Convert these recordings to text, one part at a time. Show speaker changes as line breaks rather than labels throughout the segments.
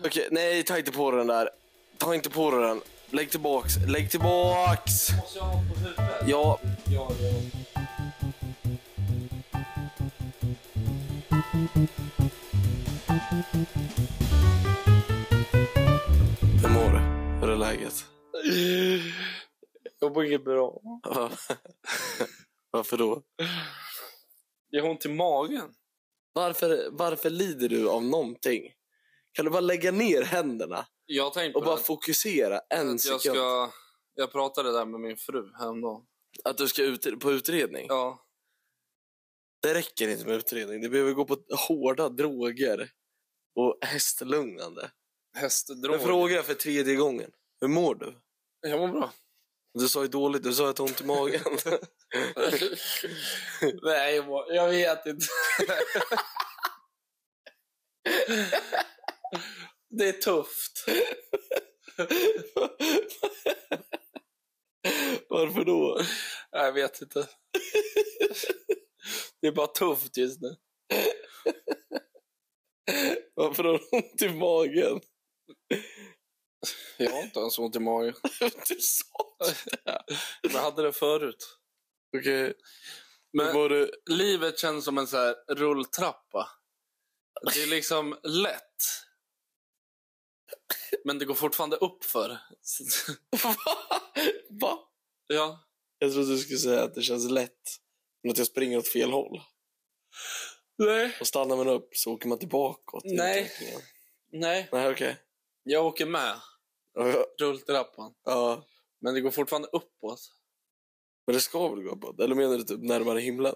Okej, nej ta inte på den där. Ta inte på den. Lägg tillbaks, lägg tillbaks.
Måste jag ha på huvudet?
Ja,
Ja, ja.
hur mår du? Hur är läget?
Jag mår inget bra.
Va- Varför då?
Jag har ont i magen.
Varför, varför lider du av någonting? Kan du bara lägga ner händerna
Jag har tänkt på
och bara
det.
fokusera en
att jag,
sekund?
ska, jag pratade där med min fru häromdagen.
Att du ska ut, på utredning?
Ja,
Det räcker inte med utredning. Du behöver gå på hårda droger och hästlugnande.
hästdrog.
Jag frågar jag för tredje gången. Hur mår du?
Jag mår bra.
Du sa ju dåligt, du sa att du har ont i magen.
Nej, jag, mår, jag vet inte. det är tufft.
Varför då?
Nej, Jag vet inte. det är bara tufft just nu.
Varför har du ont i magen?
Jag har inte ens ont i magen.
Du sa
Men jag hade det förut.
Okej.
Men-
Men var du...
livet känns som en så här rulltrappa. Det är liksom lätt. Men det går fortfarande uppför. Så-
Va?
Ja.
Jag trodde du skulle säga att det känns lätt. Men att jag springer åt fel håll.
Nej.
Och stannar man upp så åker man tillbaka. åt
Nej.
utvecklingen.
Nej.
Nej, okej.
Jag åker med
Ja,
rulltrappan.
Ja.
Men det går fortfarande uppåt.
Men det ska väl gå uppåt? Eller menar du typ närmare himlen?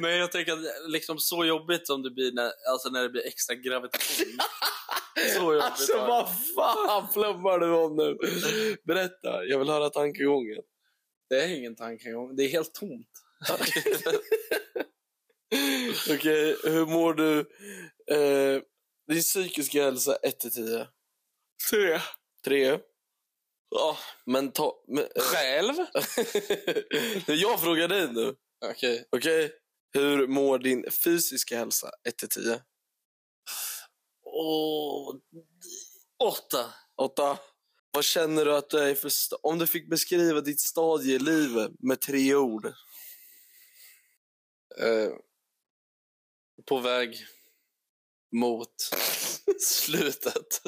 Men jag tänker att det är liksom så jobbigt som det blir när, alltså när det blir extra gravitation. Så jobbigt.
Alltså
var det.
vad fan flummar du om nu? Berätta, jag vill höra tankegången.
Det är ingen tankegång. Det är helt tomt.
Okej, hur mår du? Eh, din psykiska hälsa 1 till 10.
Tre.
3.
Ja.
Men ta... Men,
Själv?
jag frågar dig nu.
Okej.
Okej? Hur mår din fysiska hälsa 1 till 10?
Åh, åtta.
8. Vad känner du att du är för... St- Om du fick beskriva ditt stadie i livet med tre ord.
Eh, på väg mot slutet.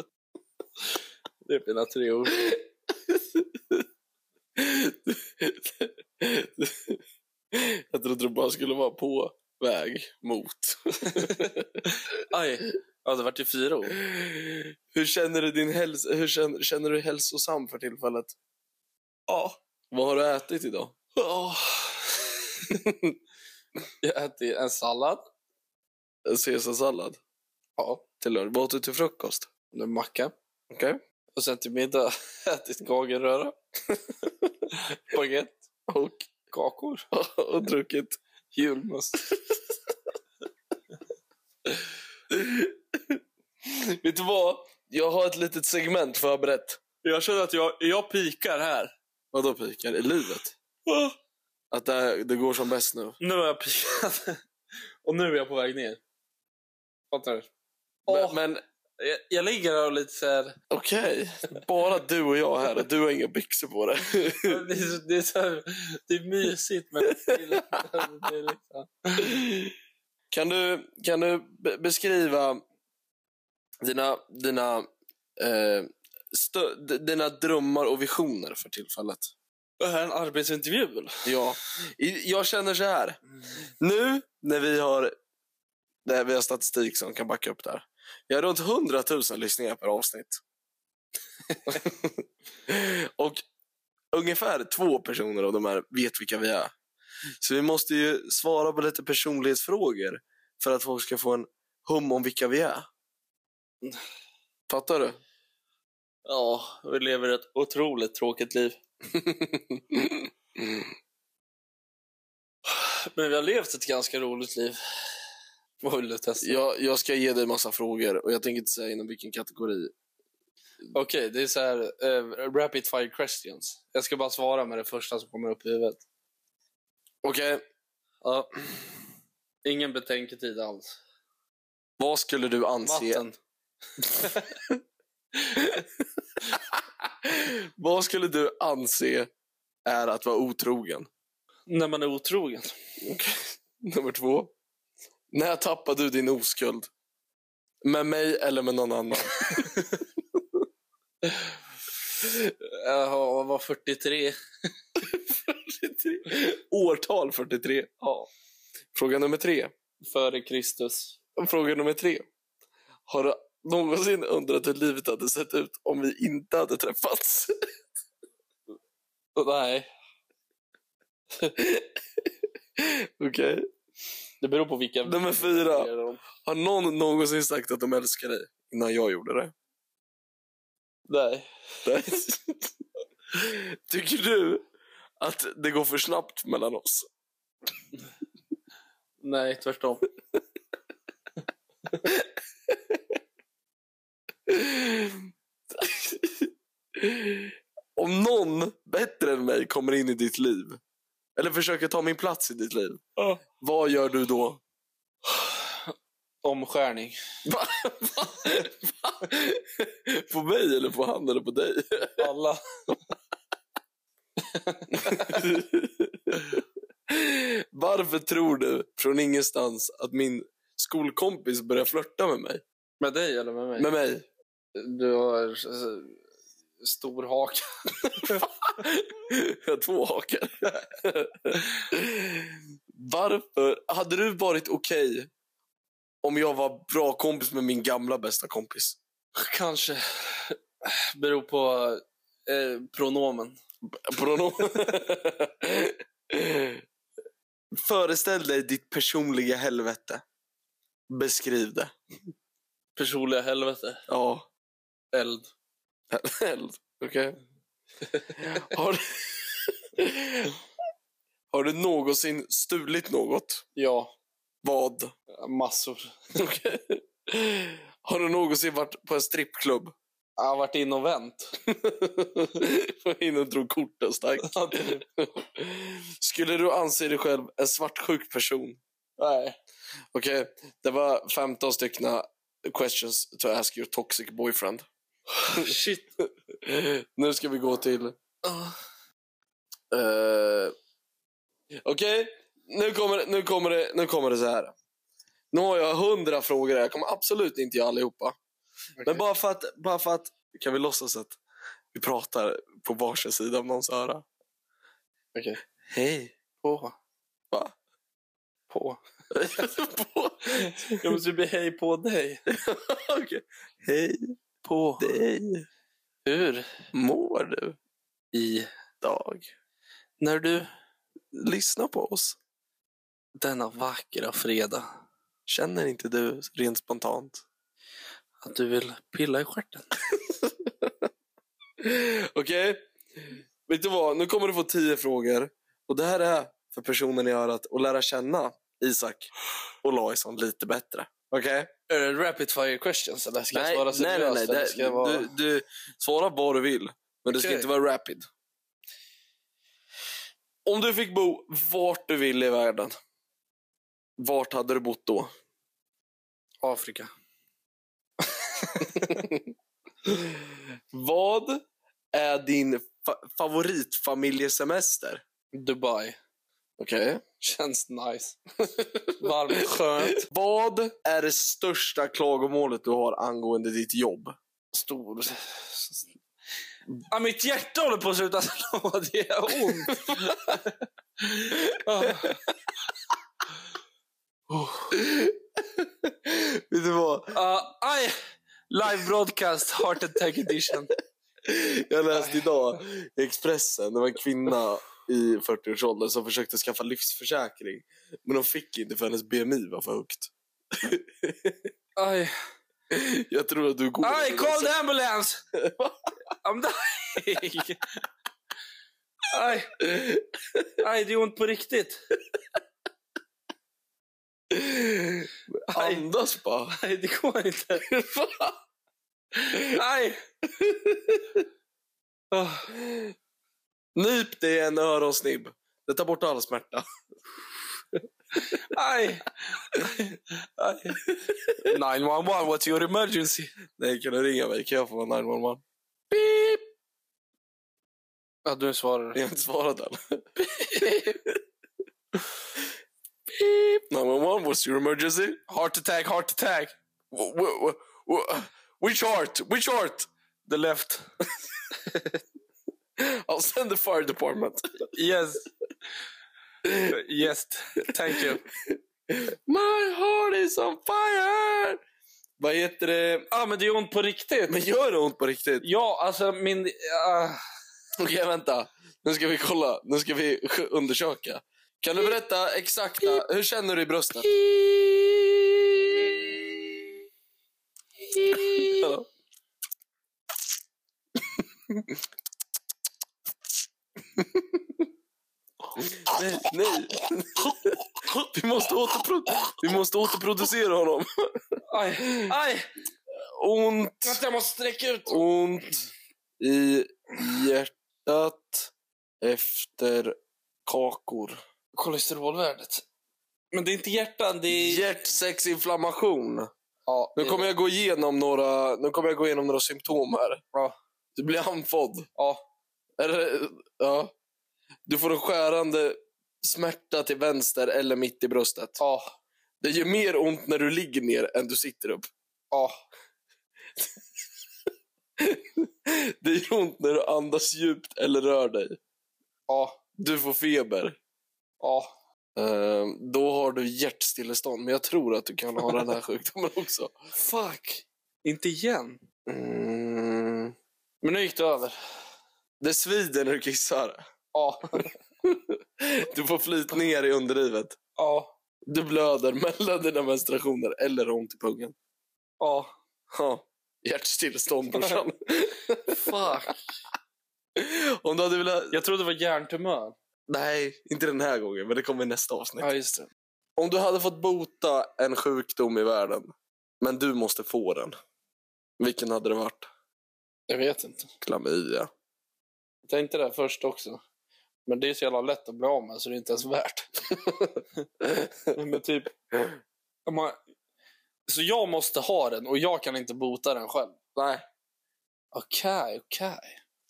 Det är mina tre ord.
jag trodde du bara skulle vara på väg mot.
Aj, ja, det vart ju fyra ord.
Hur känner du din häls- hur känner, känner du dig hälsosam för tillfället? Ja. Vad har du ätit idag?
Åh. Jag äter en sallad.
En caesarsallad
Ja,
till lunch. Vad åt du till frukost?
en macka.
Okej.
Och sen till middag ätit gagelröra. Baguette
Och,
kakor.
och druckit.
Julmust.
Vet du vad? Jag har ett litet segment förberett.
Jag känner att jag, jag pikar här.
Vadå pikar? I livet?
Åh.
Att det, här, det går som bäst nu.
Nu har jag pikat. Och nu är jag på väg ner. Fattar du?
Men-
Åh.
Men
Jag, jag ligger här och lite så här...
okej, bara du och jag här och du har inga byxor på dig.
Det är, så- det är, så här, det är mysigt men... det är liksom,
Kan du, kan du be- beskriva dina, dina, eh, stö- d- dina drömmar och visioner för tillfället?
det här är en arbetsintervju eller?
Ja. I- Jag känner så här. Nu när vi har, när vi har statistik som kan backa upp där. Jag har runt 100 000 lyssningar per avsnitt. och ungefär två personer av de här vet vilka vi är. Så vi måste ju svara på lite personlighetsfrågor för att folk ska få en hum om vilka vi är. Fattar du?
Ja, vi lever ett otroligt tråkigt liv. Men vi har levt ett ganska roligt liv. Vad vill du testa?
Jag, jag ska ge dig massa frågor och jag tänker inte säga inom vilken kategori.
Okej, det är så här eh, rapid fire questions. Jag ska bara svara med det första som kommer upp i huvudet.
Okej,
Ja. Ingen betänketid alls.
Vad skulle du anse...
Vatten.
Vad skulle du anse är att vara otrogen?
När man är otrogen.
Nummer två. När tappar du din oskuld? Med mig eller med någon annan?
Jaha, var 43.
43. Årtal 43.
Ja.
Fråga nummer tre.
Före Kristus.
Fråga nummer tre. Har du någonsin undrat hur livet hade sett ut om vi inte hade träffats?
Nej,
Okej.
det beror på vilka...
Nummer fyra. Har någon någonsin sagt att de älskar dig innan jag gjorde det?
Nej.
Nej. Tycker du att det går för snabbt mellan oss?
Nej, tvärtom.
Om någon bättre än mig kommer in i ditt liv eller försöker ta min plats i ditt liv,
Ja.
vad gör du då?
Omskärning.
På mig eller på han eller på dig?
Alla.
Varför tror du från ingenstans att min skolkompis börjar flörta med mig?
Med dig eller med mig?
Med mig?
Du har eh, stor haka.
Jag har två hakar. Varför? Hade du varit okej om jag var bra kompis med min gamla bästa kompis?
Kanske. Beror på eh, pronomen.
Pronom. Föreställ dig ditt personliga helvete. Beskriv det.
Personliga helvete.
Ja.
Eld.
Eld. Okej. Har, du... Har du någonsin stulit något?
Ja.
Vad?
Massor.
Okej. Har du någonsin varit på en strippklubb?
Jag har varit in och vänt.
Var in och drog korten starkt. Skulle du anse dig själv en svartsjuk person?
Nej.
Okej, det var 15 stycken questions to ask your toxic boyfriend.
Shit.
Nu ska vi gå till... eh, Okej, nu, kommer, nu, kommer det- nu kommer det så här. Nu har jag hundra frågor här. Jag kommer absolut inte göra allihopa. Men bara för, att, bara för att... Kan vi låtsas att vi pratar på varsin sida om någons öra?
Okej.
Hej.
På.
Va?
På.
På-
Jag måste bli hej på dig.
Okej. Hej
På.
dig.
Hur?
Mår du?
I.
Dag.
När du
Lyssna på oss.
denna vackra fredag
Känner inte du rent spontant?
att du vill pilla i stjärten.
Okej. Vet du vad? Nu kommer du få tio frågor. Och det här är för personen i örat att lära känna Isak och Laison lite bättre. Okej?
Är det rapid fire questions eller ska jag svara
nej, nej. nej.
seriöst? eller
Det,
ska jag vara...
du, du, svara vad du vill, men det ska
Okej.
inte vara rapid. Om du fick bo vart du vill i världen, vart hade du bott då?
Afrika.
Vad är din fa- favoritfamiljesemester?
Dubai.
Okej.
Känns nice. Varmt, skönt.
Vad är det största klagomålet du har angående ditt jobb?
Stor. Ah, mitt hjärta håller på att sluta slå. Det är ont. Ah,
Vet du vad?
ah, aj! Live broadcast, heart attack edition.
Jag läste idag i Expressen, det var en kvinna i 40-årsåldern som försökte skaffa livsförsäkring. Men hon fick inte för hennes BMI var för högt.
Aj,
Jag tror att du går...
aj call the ambulance! I'm dying! Aj, aj, det är ont på riktigt.
Andas bara.
Nej, det går inte. Nej! Ah,
Nyp dig i en öronsnibb. Det tar bort all smärta.
Aj! Aj. 911, what's your emergency?
Nej, kan du ringa mig? Kan jag få vara 911?
Beep! Ja, du svarar.
Jag har inte svarat än. Beep. 911, what's your emergency?
Heart attack, heart attack!
W- w- w- w- Which heart? Which heart?
The left.
I'll send the fire department.
Yes. yes, thank you.
My heart is on fire! Vad heter det?
Ja, ah, men det gör ont på riktigt.
Men gör det ont på riktigt?
Ja, alltså min... ah.
Okej, vänta. Nu ska vi kolla. Nu ska vi sj- undersöka. Kan du berätta exakt? Hur känner du i bröstet? Hallå? Nej, nej. Vi måste, återpro- vi måste återproducera honom.
Aj, aj!
Ont,
Vänta, jag måste sträcka ut.
ont i hjärtat efter kakor.
Kolesterolvärdet. Men det är inte hjärtan, det är...
Hjärtsexinflammation.
Ja,
Nu kommer jag gå igenom några, nu kommer jag gå igenom några symptom här.
Bra.
Du blir andfådd.
Ja.
Eller, ja. Du får en skärande smärta till vänster eller mitt i bröstet.
Ja,
Det gör mer ont när du ligger ner än du sitter upp.
ja.
Det gör ont när du andas djupt eller rör dig.
Ja,
Du får feber.
ja.
Ehm, då har du hjärtstillestånd, men jag tror att du kan ha den här sjukdomen också.
Fuck. Inte igen.
Mm.
Men nu gick det över.
Det svider när du kissar.
Ja.
Du får flyt ner i underlivet.
Ja.
Du blöder mellan dina menstruationer eller har ont i pungen.
Ja.
Ja, hjärtstillestånd brorsan.
Fuck.
Om du hade velat...
Jag trodde det var hjärntumör.
Nej, inte den här gången, men det kommer i nästa avsnitt.
Ja, just det.
Om du hade fått bota en sjukdom i världen, men du måste få den. Vilken hade det varit?
Jag vet inte.
Klamydia.
Jag tänkte det först också. Men det är så jävla lätt att bli av med så det är inte ens värt. Men typ... om Man, så jag måste ha den och jag kan inte bota den själv?
Nej.
Okej, okej.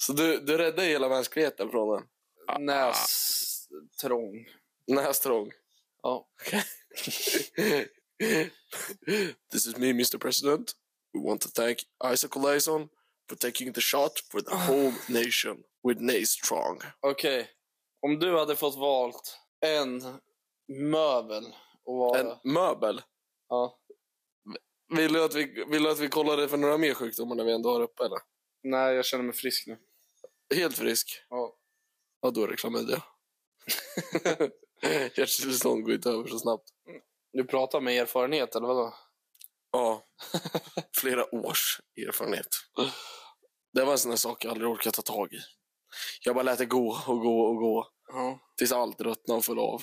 Så du, du räddade hela mänskligheten från den?
Ah. Nästrång.
Nästrång.
Ja.
This is me, Mr. President. We want to thank Isaac Olaison for taking the shot for the whole nation with Nastrong.
Okej. Om du hade fått valt en möbel och vara...
En möbel.
Ja.
Vill du, att vi, vill du att vi kollar det för några mer sjukdomar när vi ändå har uppe eller?
Nej, jag känner mig frisk nu.
Helt frisk?
Ja.
Ja, då är det klamydia. Hjärtstillestånd går inte över så snabbt.
Du pratar med erfarenhet, eller vadå?
Ja. Flera års erfarenhet. Det var en sån där sak jag aldrig orkat ta tag i. Jag bara lät det gå och gå och gå.
Ja.
Tills allt ruttnade och föll av.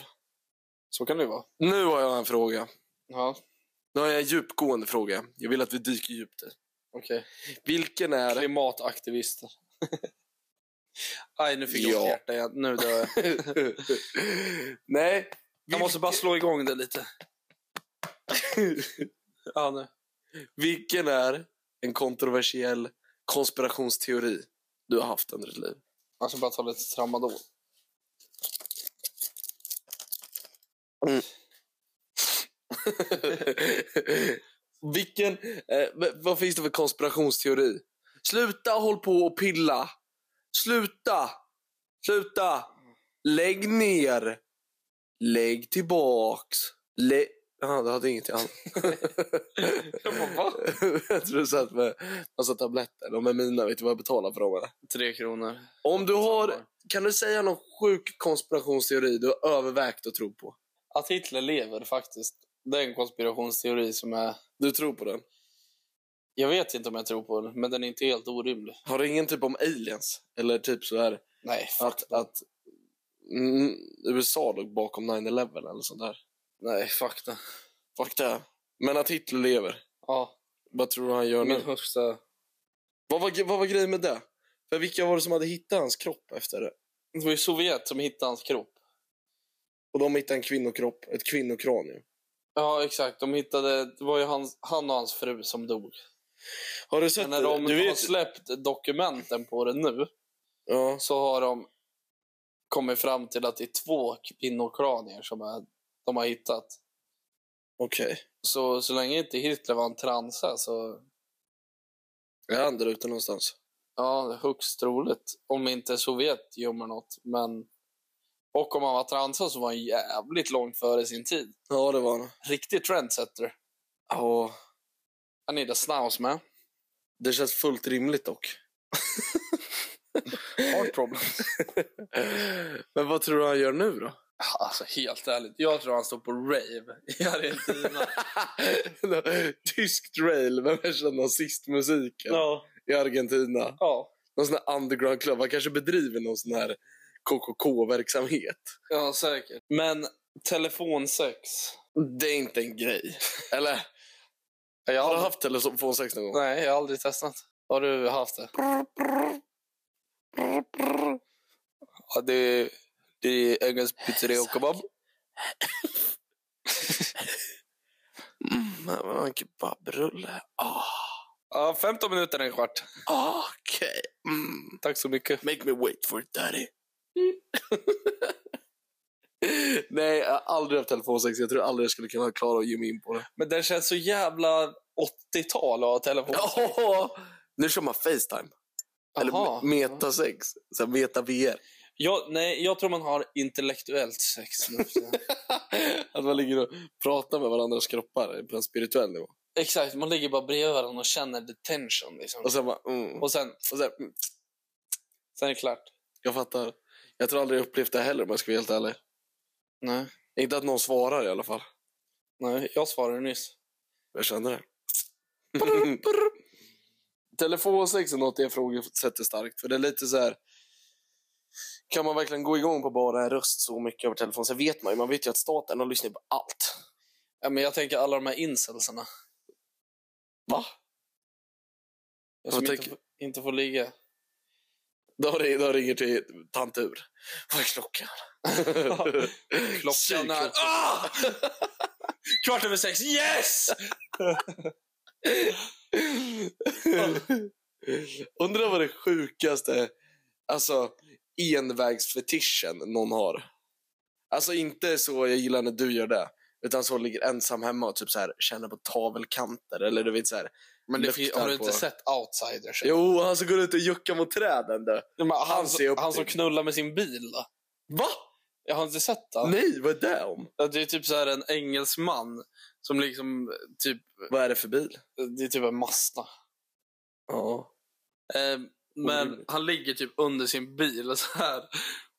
Så kan det ju vara.
Nu har jag en fråga.
Ja,
Nu har jag en djupgående fråga. Jag vill att vi dyker djupt i.
okej.
Vilken är...
Klimataktivister. Aj, nu fick jag
Ja.
ont i hjärtat igen. Nu dör jag.
Nej.
Jag måste bara slå igång det lite. Ja, nu.
Vilken är en kontroversiell konspirationsteori du har haft under ditt liv?
Jag ska bara ta lite tramadol.
Vilken... Eh, v- vad finns det för konspirationsteori? Sluta håll på och pilla! Sluta! Sluta! Lägg ner! Lägg tillbaks! Lä... Jaha, du hade ingenting annat.
Jag bara, va?
jag tror du satt med massa tabletter. De är mina. Vet du vad jag betalar för dem? eller?
Tre kronor.
Om du har... Kan du säga någon sjuk konspirationsteori du har övervägt att tro på?
Att Hitler lever faktiskt. Det är en konspirationsteori som är...
Du tror på den?
Jag vet inte om jag tror på den, men den är inte helt orimlig.
Har du ingen typ om aliens? Eller typ så här...
Nej, fuck.
att, att mm, USA låg bakom 9-11 eller sånt där.
Nej, fuck det.
Fuck det. Men att Hitler lever.
Ja,
Vad tror du han gör
min
nu?
högsta...
Vad var, vad var grejen med det? För vilka var det som hade hittat hans kropp efter det?
Det var ju Sovjet som hittade hans kropp.
Och de hittade en kvinnokropp, ett kvinnokranium.
Ja, exakt. De hittade, det var ju hans, han och hans fru som dog.
Har du sett
Men när de
du
har släppt dokumenten på det nu
Ja.
så har de kommit fram till att det är två kvinnokranier som är, de har hittat.
Okej.
Så, så länge inte Hitler var en transa så
Är han där ute någonstans?
ja, det är högst troligt. Om inte Sovjet gömmer något. Men, och om han var transa så var han jävligt långt före sin tid.
Ja, det var han.
Riktig trendsetter.
Ja.
Han är där snaus med.
Det känns fullt rimligt dock.
Hard problem.
Men vad tror du han gör nu då?
Alltså helt ärligt, jag tror han står på rave i Argentina.
Tyskt rail, vem är känd nazistmusiken
ja.
i Argentina?
ja.
Någon sån här underground club. Han kanske bedriver någon sån här KKK-verksamhet.
Ja, säkert. Men telefonsex?
Det är inte en grej. Eller? Har
Jag
du
aldrig-
haft telefonsex någon gång?
Nej, jag har aldrig testat. Har du haft det? Ja, det, det är engelsk pizzeria och kebab.
Men det var Mm, en kebabrulle. Ah,
Ja, 15 minuter en kvart.
Okej. Mm.
Tack så mycket.
Make me wait for it, daddy. Nej, jag har aldrig haft telefonsex. Jag tror aldrig jag skulle kunna klara att ge mig in på det.
Men den känns så jävla 80-tal att ha telefon.
Åhå! Nu kör man Facetime.
Jaha.
Eller metasex. Så här, meta VR.
Jag, nej, jag tror man har intellektuellt sex nu. för tiden.
Att man ligger och pratar med varandras kroppar på en spirituell nivå.
Exakt, man ligger bara bredvid varandra och känner the tension. Liksom.
Och sen bara... Mm.
Och sen,
Och sen, mm.
sen är det klart.
Jag fattar. Jag tror aldrig jag upplevt det heller om jag ska vara helt ärlig.
Nej,
Inte att någon svarar i alla fall.
nej jag svarade nyss.
Jag känner det. Telefonsex är något jag ifrågasätter starkt. För det är lite så här... Kan man verkligen gå igång på bara en röst så mycket över telefon? Sen vet man ju, man vet ju att staten har lyssnat på allt.
Ja, men jag tänker alla de här incelsarna.
Va?
Jag som
Vad
inte,
tänker-
får- inte får ligga.
Då, ring- då ringer till tantur. Vad är klockan?
Klockan är...
Psykklockan.
Ah! Kvart över sex. Yes!
Undrar vad det sjukaste, alltså envägsfetischen någon har. Alltså inte så jag gillar när du gör det, utan så ligger ensam hemma och typ så här känner på tavelkanter eller du vet så här.
Men det
luktar
fin- har du
på-
inte sett Outsiders?
Jo, han som går ut och juckar mot träden där.
Nej, men han,
han ser
som-
upp
han som
till-
knullar med sin bil. Då.
Va?
Jag har inte sett det.
Nej, vad är det om?
Ja, Det är typ så här en engelsman som liksom... Typ,
Vad är det för bil?
det är typ en Mazda.
Ja.
Eh, men
Orimligt.
han ligger typ under sin bil. Så här.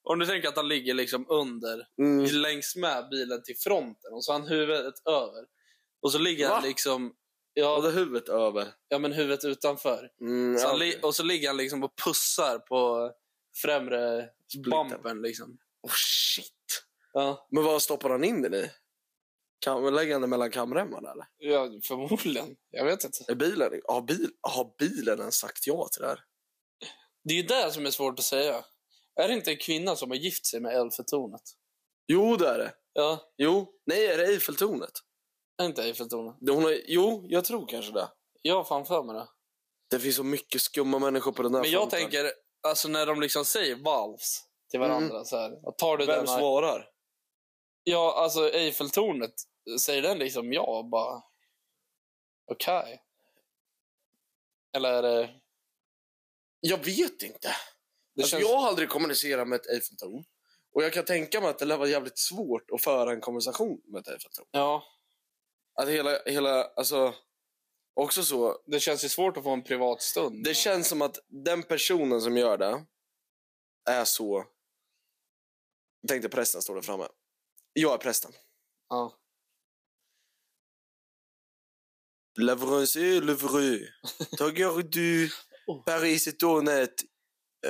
Om du tänker att han ligger liksom under
Mm.
längs med bilen till fronten och så har han huvudet över. Och så ligger han
Va?
liksom...
Ja,
Ja,
det huvudet över.
ja, men huvudet utanför.
Mm,
Så
ja,
han li-
okej.
och så ligger han liksom och pussar på främre
Splitten.
bumpen. Liksom.
oh, shit.
Ja,
Men vad stoppar han in den i? Kam- lägger han den mellan kamremmarna eller?
ja, förmodligen. Jag vet inte.
Är bilen, har, bil, har bilen ens sagt ja till det här?
Det är ju det som är svårt att säga. Är det inte en kvinna som har gift sig med Eiffeltornet?
Jo, det är det.
Ja,
Jo. Nej, är det Eiffeltornet?
är inte Eiffeltornet?
Det Hon har, jo, jag tror kanske det.
Jag har fan för mig det.
Det finns så mycket skumma människor på den här
Men jag
fronten.
tänker, alltså när de liksom säger valvs till varandra så här. Tar du
Mm. Vem
den här?
svarar?
Ja, alltså Eiffeltornet, säger den liksom ja? Bara, okej. Eller är det...
Jag vet inte.
det
alltså,
känns,
Jag har aldrig kommunicerat med ett Eiffeltorn. Och jag kan tänka mig att det lär vara jävligt svårt att föra en konversation med ett Eiffeltorn.
Ja,
Att hela, hela, alltså... Också så,
det känns ju svårt att få en privat stund.
Det känns som att den personen som gör det är så... Jag tänkte prästen står där framme. Jag är prästen.
Ja.
Levreux, levreux. Tager du
Oh.
Paris i euh, tornet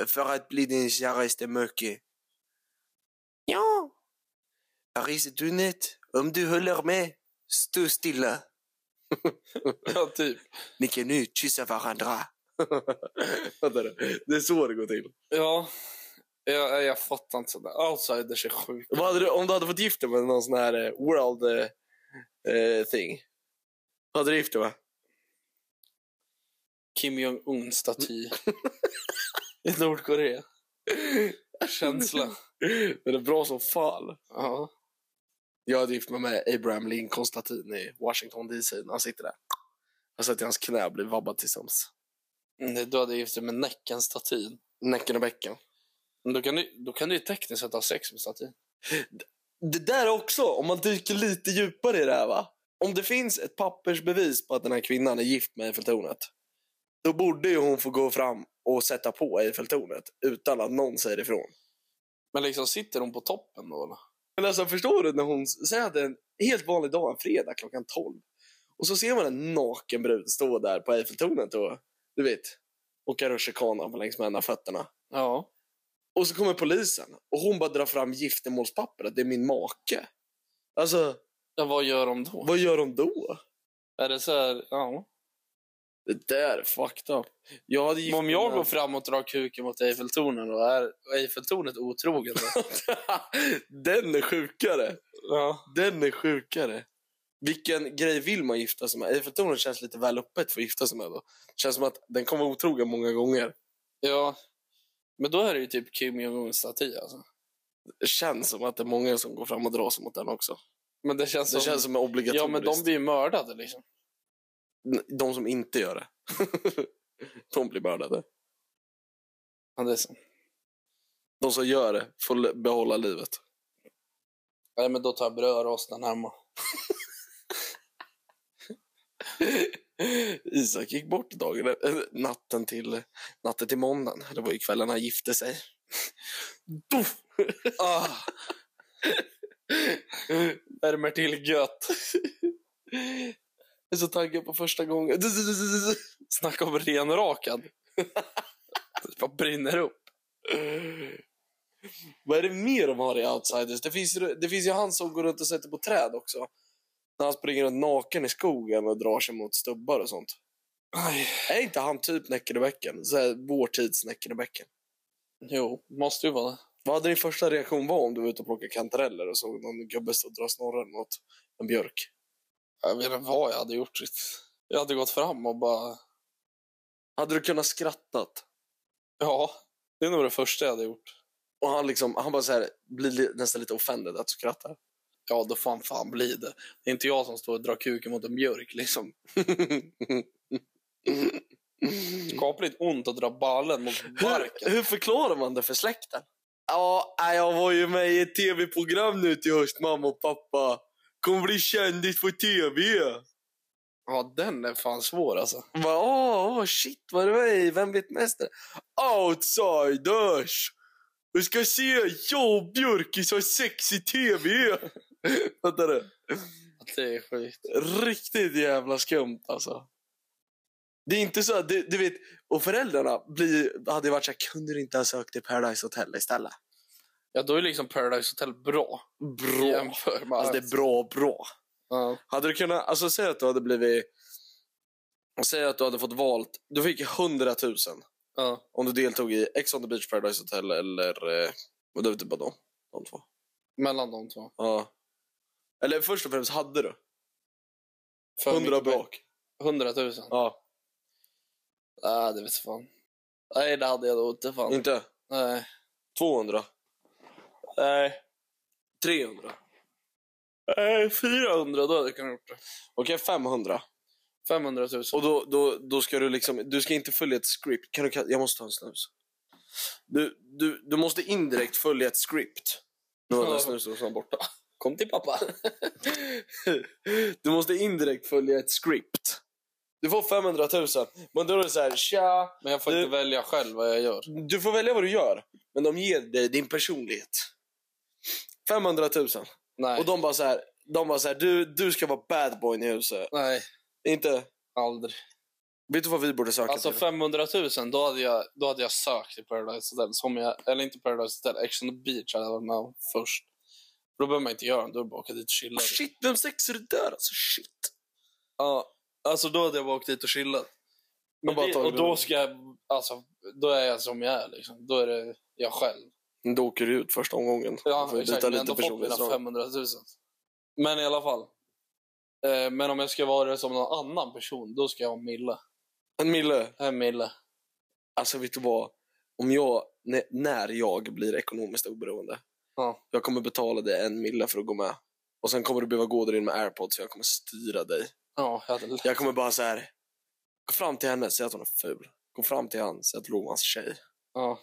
för att bli din käraste möke? Ja. Paris i tornet, om du håller med, stå stilla.
ja, typ.
Ni kan nu kyssa varandra. Fattar du? det är så det går till.
Ja. Jag, jag fattar inte sådär. Outsiders är sjuka.
Vad hade du, om du hade fått gifta dig med någon sån här eh, world eh, eh, thing. Vad hade du gift dig med?
Kim Jong-Un-staty. I Nordkorea. Känsla.
Den är bra som fan.
Ja.
Jag hade gift mig med Abraham Lincoln-statyn i Washington DC när han sitter där. Jag satt i hans knä och blev vabbad tillsammans.
Nej, Mm, Du hade gift dig med Näcken-statyn.
Näcken och bäcken.
Men Då kan, du, då kan du ju tekniskt sett ha sex med statyn.
Det där också, om man dyker lite djupare i det här va. Om det finns ett pappersbevis på att den här kvinnan är gift med Eiffeltornet. Då borde ju hon få gå fram och sätta på Eiffeltornet utan att någon säger ifrån.
Men liksom, sitter hon på toppen då eller?
Men alltså förstår du när hon säger att det är en helt vanlig dag, en fredag klockan 12. Och så ser man en naken brud stå där på Eiffeltornet och du vet, åka rutschkana på längs med ena fötterna.
Ja.
Och så kommer polisen och hon bara drar fram giftermålspappret, det är min make. Alltså,
ja vad gör de då?
vad gör de då?
Är det så här, ja.
Det där är fucked up. Jag hade gift
Om jag
mig
går
med-
fram och drar kuken mot Eiffeltornet då, är Eiffeltornet otrogen då?
Den är sjukare.
ja.
Den är sjukare. Vilken grej vill man gifta sig med? Eiffeltornet känns lite väl öppet för att gifta sig med. Då. känns som att den kommer vara otrogen många gånger.
Ja. Men då är det ju typ Kim Jong-Un-staty alltså.
Det känns som att det är många som går fram och drar sig mot den också.
Men det känns som...
Det känns som en obligatoriskt.
ja, men de blir ju mördade liksom.
de... de som inte gör det. de blir mördade.
Ja, det är så.
De som gör det får le- behålla livet.
Nej, men då tar jag brödrosten hemma.
Isak gick bort dagen, eh, natten, till, natten till måndagen. Det var ju kvällen han gifte sig. Doff!
Ah. Värmer till gött.
Jag är så taggad på första gången.
Snacka om renrakad. Det bara brinner upp.
Vad är det mer de har i Outsiders? Det finns, ju- det finns ju han som går runt och sätter på träd också. När han springer runt naken i skogen och drar sig mot stubbar och sånt.
Aj.
Är inte han typ Näckenebäcken? Så här, Vår tids Näckenebäcken.
Jo, måste ju vara det.
Vad hade din första reaktion var om du var ute och plockade kantareller och såg någon gubbe stå och dra snorren mot en björk?
Jag vet inte vad jag hade gjort. Jag hade gått fram och bara...
Hade du kunnat skrattat?
Ja, det är nog det första jag hade gjort.
Och han, liksom, han bara så här, blir li- nästan lite offended att du skrattar.
Ja, då fan fan blir det. Det är inte jag som står och drar kuken mot en björk liksom. Skapligt ont att dra ballen mot
hur,
barken.
hur förklarar man det för släkten? Ja, nej, jag var ju med i ett tv-program nu till höst, mamma och pappa. Kommer bli kändis på tv.
Ja, den är fan svår alltså.
Bara, Åh, åh, shit, vad är det med i Vem vet mest? Outsiders! Du ska se jag och Björkis har sex i tv! Fattar du?
Att det är skit.
Riktigt jävla skumt alltså. Det är inte så att, du, du vet, och föräldrarna blir, hade ju varit så här, kunde du inte ha sökt till Paradise Hotel istället?
Ja, då är liksom Paradise Hotel bra.
Bra.
Jämför med
Alltså det är bra, bra.
Ja.
Hade du kunnat, alltså säg att du hade blivit, säg att du hade fått valt, du fick 100 000
Ja.
om du deltog i Ex on the Beach, Paradise Hotel eller, eh, vad det var typ bara de, de två.
Mellan de två.
Ja. Eller först och främst, hade du?
För
100
mycket pengar.
brak.
100 000?
Ja.
Nej, det vete fan. Nej, det hade jag nog inte fan.
Inte?
Nej.
200?
Nej.
300?
Nej, 400 då hade jag kunnat gjort det.
Okej, 500.
500 000.
Och då, då, då ska du liksom, du ska inte följa ett script. Kan du, ka- jag måste ta en snus. Du, du, du måste indirekt följa ett script. Nu var den
Ja.
snusen som var borta.
Kom till pappa.
Du måste indirekt följa ett script. Du får 500 000. Men då är det så här, tja.
Men jag får
Du-
inte välja själv vad jag gör.
Du får välja vad du gör. Men de ger dig din personlighet. 500 000.
Nej.
Och de bara så här, de bara så här du, du ska vara bad boy i huset.
Nej,
Inte,
aldrig.
vet du vad vi borde söka
Alltså
till?
500 000, då hade jag, då hade jag sökt i Paradise Hotel. Som jag, eller inte Paradise Hotel, Ex on the Beach hade jag varit med om först. Då behöver man inte göra det, då är det bara att åka dit och chilla.
Oh, shit, vem sex är det där? Alltså shit.
Ja, alltså då hade jag bara åkt dit och chillat. Men
bara
det,
tagit
och då
det.
ska jag, alltså, då är jag som jag är liksom. Då är det jag själv.
Då åker du ut första omgången.
Ja,
Du får
exakt.
byta
Men
lite
ändå fått mina
personlighetsdrag.
500 000. Men i alla fall. Eh, men om jag ska vara det som någon annan person, då ska jag ha Mille.
Men Mille,
Här är Mille.
alltså vet du vad? Om jag, när- när jag blir ekonomiskt oberoende.
Ja.
Jag kommer betala dig en mille för att gå med. Och sen kommer du behöva gå där in med airpods så jag kommer styra dig.
Ja, jag hade lätt.
Jag kommer bara så här. Gå fram till henne, säg att hon är ful. Gå fram till han, säg att Lou är hans tjej.
Ja.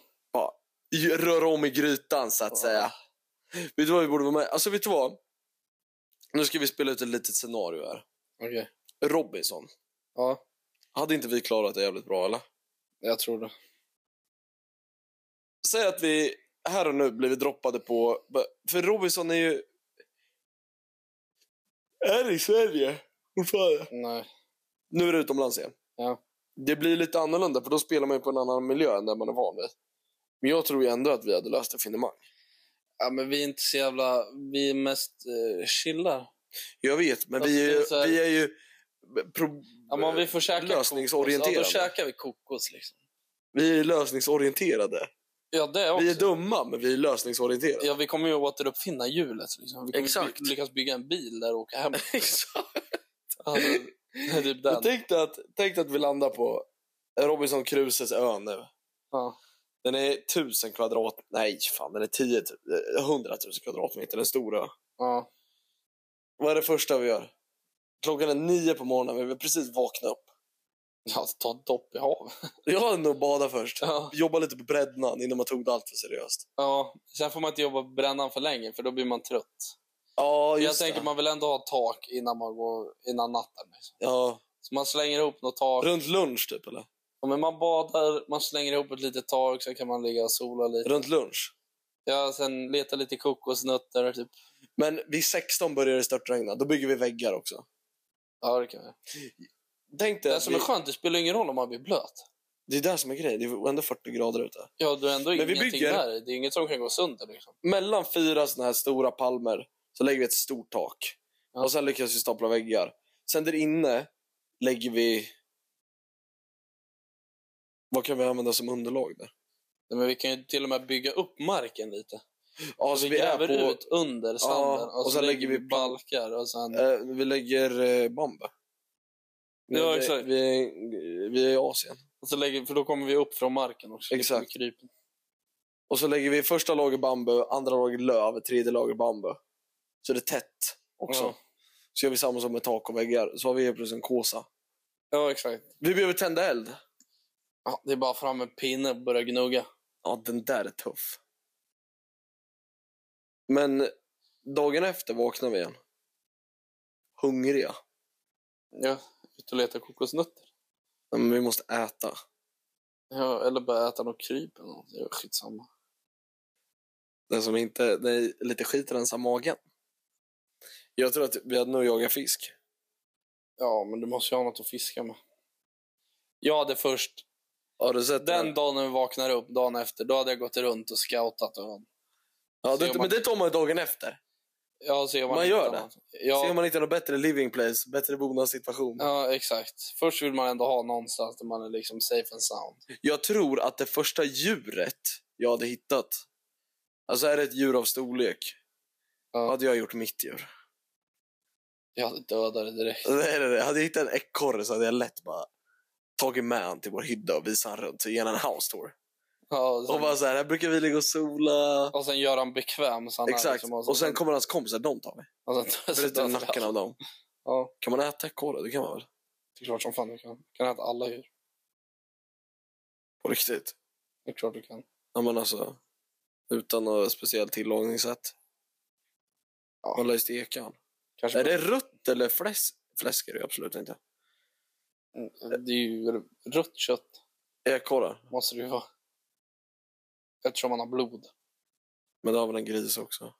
Ju- Röra om i grytan så att
Ja.
säga. Vet du vad vi borde vara med? Alltså vet du vad? Nu ska vi spela ut ett litet scenario här.
Okej.
Robinson.
Ja,
Hade inte vi klarat det jävligt bra eller?
jag tror det.
Säg att vi här och nu blivit droppade på... För Robinson är ju... Är i Sverige fortfarande.
Nej.
Nu är det utomlands igen.
Ja.
Det blir lite annorlunda för då spelar man ju på en annan miljö än där man är van vid. Men jag tror ju ändå att vi hade löst det finemang.
Ja, men vi är inte så jävla... Vi är mest eh, chillar.
Jag vet, men
Alltså,
vi är
det är
ju...
så här-
Vi är ju pro,
Ja, men om vi får käka kokos, ja,
lösningsorienterade.
då käkar vi kokos. Liksom.
Vi är lösningsorienterade.
Ja, det också.
Vi är dumma, men vi är lösningsorienterade.
Ja, vi kommer ju återuppfinna hjulet. Liksom. Vi kommer
Exakt.
By- lyckas bygga en bil där och åka hem.
Exakt.
Alltså, det är typ den.
Men Tänk dig att, tänk dig att vi landar på Robinson Crusoes ö nu.
Ja.
Den är 1000 kvadrat... Nej, fan, den är 10, tu- eh, 100 000 kvadratmeter, den stora.
Ja.
Vad är det första vi gör? Klockan är nio på morgonen, vi vill precis vakna upp.
ja, ta en dopp i havet.
Jag hade nog badat först.
Ja.
Jobba lite på brädnan innan man tog det allt för seriöst.
Ja, sen får man inte jobba på brännan för länge för då blir man trött.
Ja, just
jag tänker
det.
man vill ändå ha tak innan man går innan natten. Liksom.
Ja.
Så man slänger ihop något tak.
Runt lunch, typ, eller?
Ja, men man badar, man slänger ihop ett litet tak, sen kan man ligga och sola lite.
Runt lunch.
Ja, sen letar lite kokosnötter. Typ.
Men vid 16 börjar det störtregna. Då bygger vi väggar också.
Ja, det kan vi.
Tänk dig
Det
att
som
vi...
är skönt, det spelar ingen roll om man blir blöt.
Det är det som är grejen. Det är ändå 40 grader ute.
Ja, du är ändå
Men vi
ingenting
bygger-
med dig. Det är inget som kan gå sönder. Liksom.
mellan fyra såna här stora palmer så lägger vi ett stort tak.
Ja.
Och sen lyckas vi stapla väggar. Sen där inne lägger vi... Vad kan vi använda som underlag där?
Nej, men vi kan ju till och med bygga upp marken lite.
Ja, alltså,
vi,
vi är
gräver
på...
ut under sanden och, så sen lägger vi balkar. Och sen...
eh, vi lägger eh, bambu. Vi,
Ja, exakt.
Vi, vi är i Asien.
Och så lägger, för då kommer vi upp från marken också.
Exakt.
Liksom i krypen.
Och så lägger vi första lager bambu, andra lager löv, tredje lager bambu. Så det är tätt också.
Ja.
Så gör vi samma som med tak och väggar. Så har vi helt plötsligt en kåsa.
ja, exakt.
Vi behöver tända eld.
Ja, det är bara fram en pinne och börja gnugga.
Ja, den där är tuff. Men dagen efter vaknar vi igen. Hungriga.
Ja, ut och leta kokosnötter.
Nej, men vi måste äta.
Ja, eller bara äta något kryp eller något. Ja, skitsamma.
Den som inte... Nej, lite skit rensar magen. Jag tror att vi hade nog jagat fisk.
Ja, men du måste ju ha något att fiska med. Jag hade först,
Har du sett
den dagen när vi vaknade upp, dagen efter, då hade jag gått runt och scoutat ön.
Ja, det,
ser man-
men det tar man ju dagen efter.
Ja, se om man
Man gör
hittar
det?
något. Ja,
Ser man inte något bättre living place, bättre bostadssituation.
ja, exakt. Först vill man ändå ha någonstans där man är liksom safe and sound.
Jag tror att det första djuret jag hade hittat, alltså är det ett djur av storlek,
Ja.
hade jag gjort mitt djur.
Jag hade dödat det direkt.
Nej, nej, nej. Hade jag hittat en ekorre så hade jag lätt bara tagit med han till vår hydda och visat han runt. Så ger han en house tour.
Ja, och, sen,
Och bara så här, här brukar vi ligga och sola.
och sen gör han bekväm. Så han är
Exakt.
liksom-
Och sen kommer hans kompisar, de tar vi.
och sen-
Bryter typ nacken av dem.
Alltså, Ja.
Kan man äta ekorre? Det kan man väl?
Det är klart som fan du kan. Du kan äta alla djur.
På riktigt.
Det är klart du kan.
Ja, men alltså, utan något speciellt tillagningssätt.
Ja.
Man lär ju steka han.
Kanske
Är det rött eller fläsk? Fläsk är det ju absolut inte.
Mm, Det är ju rött kött,
Ekorre.
måste det ju vara. Eftersom man har blod.
Men det har väl en gris också?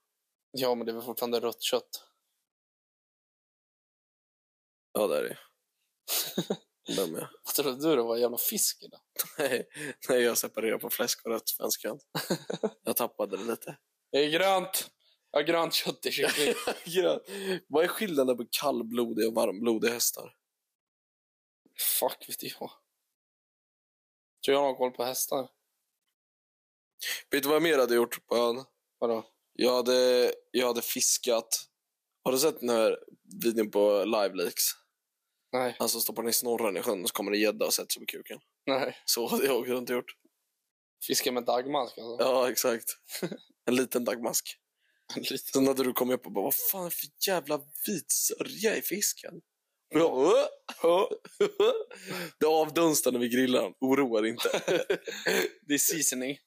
Ja, men det är väl fortfarande rött kött.
Ja, det är det ju. Dum jag.
Vad trodde du det var? Jävla fisk eller?
Nej, nej, jag separerar på fläsk och rött svenskan. Jag tappade det lite.
Det är grönt! Ja, grönt kött i kyckling.
Grön. Vad är skillnaden på kallblodiga och varmblodiga hästar?
Fuck vet jag. Tror jag har koll på hästar.
Vet du vad jag mer hade gjort på ön?
Vadå?
Jag hade, jag hade fiskat. Har du sett den här videon på Live Leaks?
Nej.
Han som stoppar ner snorren i sjön och så kommer det gädda och sätter sig på kuken.
Nej.
Så hade jag också inte gjort.
Fiska med dagmask alltså.
Ja, exakt. En liten dagmask.
Lite.
Sen hade du kommit upp och bara, vad fan för jävla vit sörja i fisken? Och jag bara, "Åh, åh, åh." Det avdunstar när vi grillar den. Oroa dig inte.
Det är seasoning.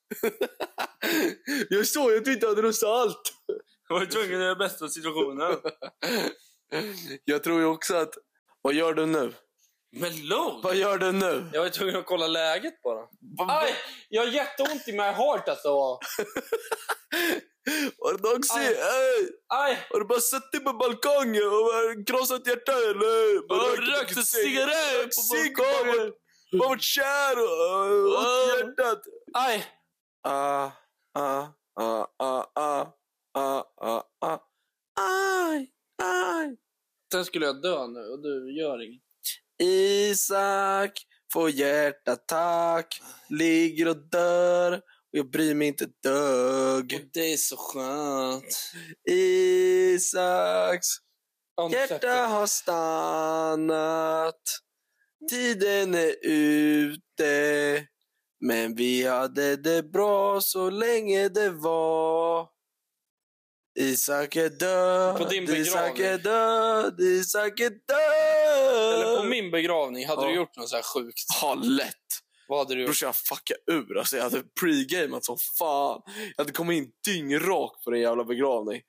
Jag såg att du inte hade rostat allt.
Jag var tvungen att göra bästa situationen.
Jag tror ju också att... Vad gör du nu?
Men lugn!
Vad gör du nu?
Jag var tvungen att kolla läget bara.
Vad-
Aj! Jag har jätteont i my heart alltså.
Har du någonsin...
Aj.
Ey,
Aj!
Har du bara suttit på balkongen och bara krossat hjärtat eller?
Har du rökt en cigarett på
Cigg,
balkongen?
Bara varit kär och och
Ah.
åt hjärtat.
Aj!
Ah, ah, ah, ah, ah, ah, ah, ah. Aj, aj.
Sen skulle jag dö nu och du gör inget.
Isak får hjärtattack, ligger och dör och jag bryr mig inte ett dugg.
det är så skönt.
Isaks hjärta
Hjärta!
har stannat. Tiden är ute. Men vi hade det bra så länge det var. Isak är
På din
död, Isak
begravning.
är död, Isak är död.
Eller på min begravning, hade
Ja.
du gjort något så här sjukt?
Ja, lätt.
Vad hade du gjort?
Brorsan, jag fuckade ur. Alltså, jag hade pre-gameat som fan. Jag hade kommit in dyngrak på den jävla begravning.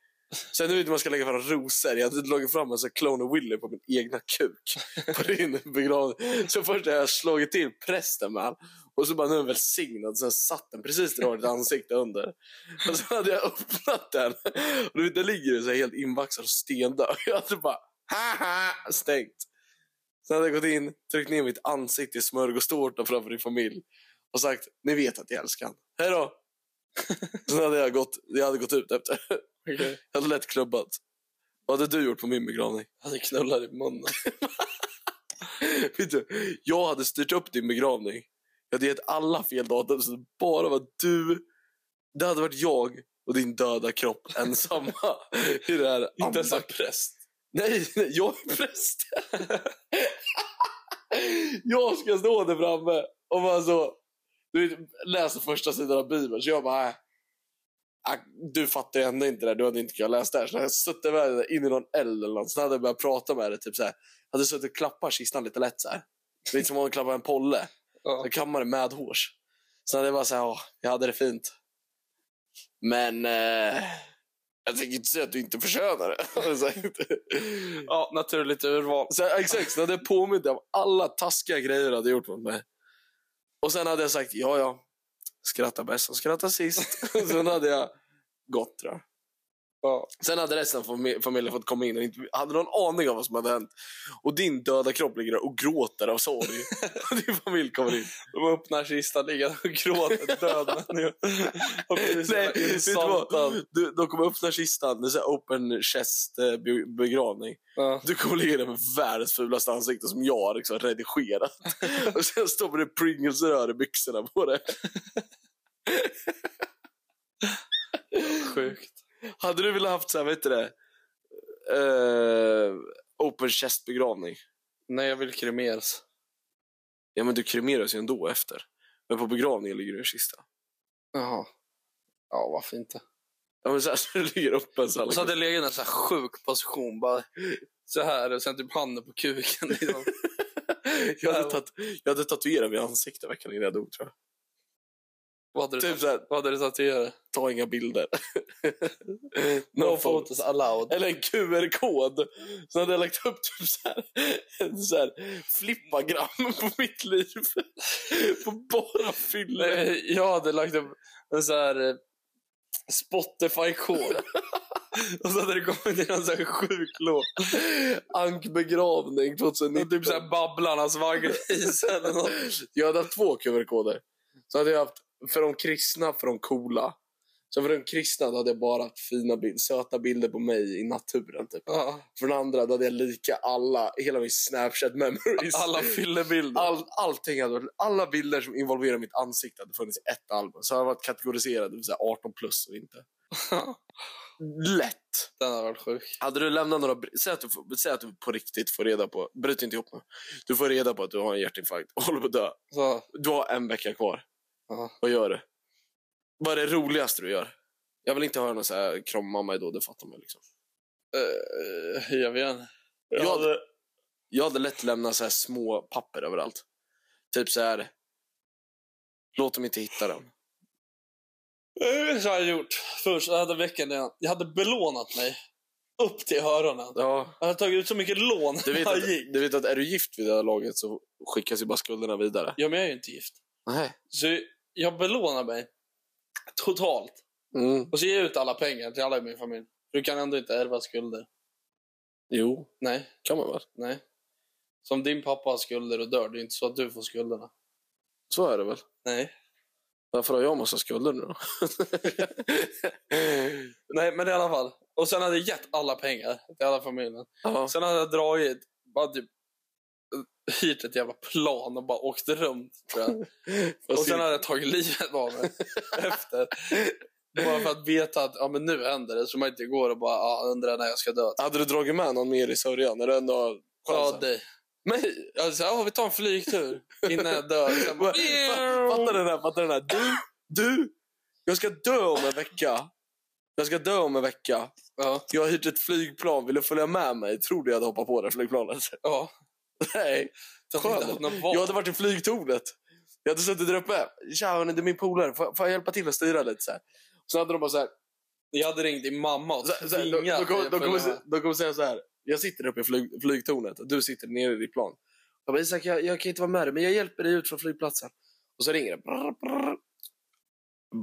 Sen nu vet man ska lägga fram rosor. Jag hade dragit fram en sån här Clone of Willy på min egna kuk. På din begravning. Så först hade jag slagit till prästen med han. Och så bara, nu är den välsignad. Sen satt den precis där du har ditt ansikte under. Och sen hade jag öppnat den. Och du vet, där ligger du så här helt invaxad och stendöd. Jag hade bara, haha, stängt. Sen hade jag gått in, tryckt ner mitt ansikte i smörgåstårta framför din familj och sagt ni vet att jag älskar han. Hej då! Sen hade jag gått, jag hade gått ut efter.
Okej.
Jag hade lätt klubbat. Vad hade du gjort på min begravning?
Jag hade knullat i munnen.
Vet du, jag hade styrt upp din begravning. Jag hade gett alla fel datum så det bara var du. Det hade varit jag och din döda kropp ensamma i det här
Inte ens en
andakt.
präst.
Nej, nej, jag är präst. jag ska stå där framme och bara så... Du vet, läser första sidan av Bibeln, så jag bara... Äh, äh, du fattar ju ändå inte det här, du hade inte kunnat läsa det här. Så när jag suttit med det in i någon eld eller något, så hade jag börjat prata med det typ så här. Jag hade suttit och klappat kistan lite lätt så här. Det är som om man klappar en polle.
Ja.
Jag kammade med hårs. Så hade jag bara så här, "Åh, jag hade det fint. Men... Eh, jag tänker inte säga att du inte förtjänar det. har jag sagt.
ja, naturligt urval.
Så, exakt, så hade jag påmint dig om alla taskiga grejer du hade gjort mot mig. Och sen hade jag sagt, ja ja, skratta bäst som skrattar sist. sen hade jag gått tror jag.
Ja.
Sen hade resten av fami- familjen fått komma in och inte hade någon aning om vad som hade hänt. Och din döda kropp ligger där och gråter av sorg. Och din familj kommer in.
De öppnar kistan, ligger och gråter död nu. Och precis
Nej,
Nej,
vet du vad? Du, de kommer öppna kistan, det är så här open chest eh, be- begravning.
Ja.
Du kommer ligga där med världens fulaste ansikte som jag har liksom redigerat. Och sen stoppar du Pringles-rör i byxorna på det.
Sjukt.
Hade du velat haft så här, vet du det? Eh, open chest begravning.
Nej, jag vill kremeras.
Ja men du kremeras ju ändå efter. Men på begravningen ligger du i kista.
Jaha. Ja, varför inte?
Ja men så här så du ligger öppen så
Och så
här.
hade jag legat i en sån här sjuk position. Bara så här och sen typ handen på kuken. Liksom.
Jag hade, tat- jag hade tatuerat mig i ansiktet veckan innan jag dog tror jag.
Vad hade du,
Typ så här,
vad hade du tatuerat?
ta inga bilder.
No,
no photo.
photos allowed.
Eller en QR-kod. Så hade jag lagt upp typ så här, en så här flippagram på mitt liv. På bara fyller.
Nej, Jag hade lagt upp en så här eh, Spotify-kod. och så hade det kommit in en sån här sjuk låt.
Ankbegravning 2019.
Och typ så här Babblarnas vaggris eller något.
Jag hade haft två QR-koder. Så hade jag haft för de kristna, för de coola. Så för den kristna då hade jag bara haft fina bilder, söta bilder på mig i naturen. Typ.
Ja.
För den andra då hade jag lika alla, hela min Snapchat memories.
Alla fyllebilder.
All, allting hade, varit- alla bilder som involverar mitt ansikte hade funnits i ett album. Så hade jag varit kategoriserad det vill säga 18 plus och inte. Lätt.
Den har varit sjuk.
Hade du lämnat några... br- Säg att du, får- säg att du på riktigt får reda på... Bryt inte ihop nu. Du får reda på att du har en hjärtinfarkt och håller på att dö.
Så,
Du har en vecka kvar.
ja.
Vad gör du? Vad är det roligaste du gör? Jag vill inte höra någon så här krama mamma då, det fattar man liksom.
Eh, jag vet inte.
Jag,
Ja,
hade, jag hade lätt lämnat så här små papper överallt. Typ så här... Låt dem inte hitta den.
Eh, Så har jag gjort. Först jag hade veckan innan. Jag hade belånat mig upp till öronen.
Ja.
Jag hade tagit ut så mycket lån
Du vet,
när
att,
jag gick.
du vet att är du gift vid det här laget så skickas ju bara skulderna vidare.
Ja, men jag är ju inte gift.
Nej.
Så jag belånar mig totalt.
Mm.
Och så ger jag ut alla pengar till alla i min familj. Du kan ändå inte ärva skulder.
Jo,
Nej,
kan man väl?
nej. Som din pappa har skulder och dör, det är inte så att du får skulderna.
Så är det väl?
Nej.
Varför har jag massa skulder nu då?
Nej, men i alla fall. Och sen hade jag gett alla pengar till alla familjen.
Ja.
Sen hade jag dragit, bara typ hyrt ett jävla plan och bara åkt runt tror jag. Och sen hade jag tagit livet av mig efter. Bara för att veta att ja, men nu händer det, så man inte går och bara ja, undrar när jag ska dö.
Hade du dragit med någon mer i sörjan? När du ändå har
Ja,
chansen?
dig.
Mig?
Jag sa, alltså, ja, vi tar en flygtur innan jag dör. Sen bara,
Fattar den här, fattar den här. Du, du! Jag ska dö om en vecka. Jag ska dö om en vecka.
Ja,
Jag har hyrt ett flygplan. Vill du följa med mig? Tror du jag hade hoppat på det flygplanet?
ja.
Nej.
Jag hade inte
Skönt.
haft någon val.
Jag hade varit i flygtornet. Jag hade suttit där uppe. Tja, hörni, det är min polare. Får, får jag hjälpa till att styra lite? Så här. Sen hade de bara så här.
Jag hade ringt din mamma och
Så, så, de, de,
tvingat
kommer-
dig
de,
att följa
kommer,
med.
de kommer säga så här. Jag sitter uppe i flyg, flygtornet och du sitter nere i ditt plan. Jag bara, Isak, jag, jag kan inte vara med dig, men jag hjälper dig ut från flygplatsen. Och så ringer det. Brr, brr.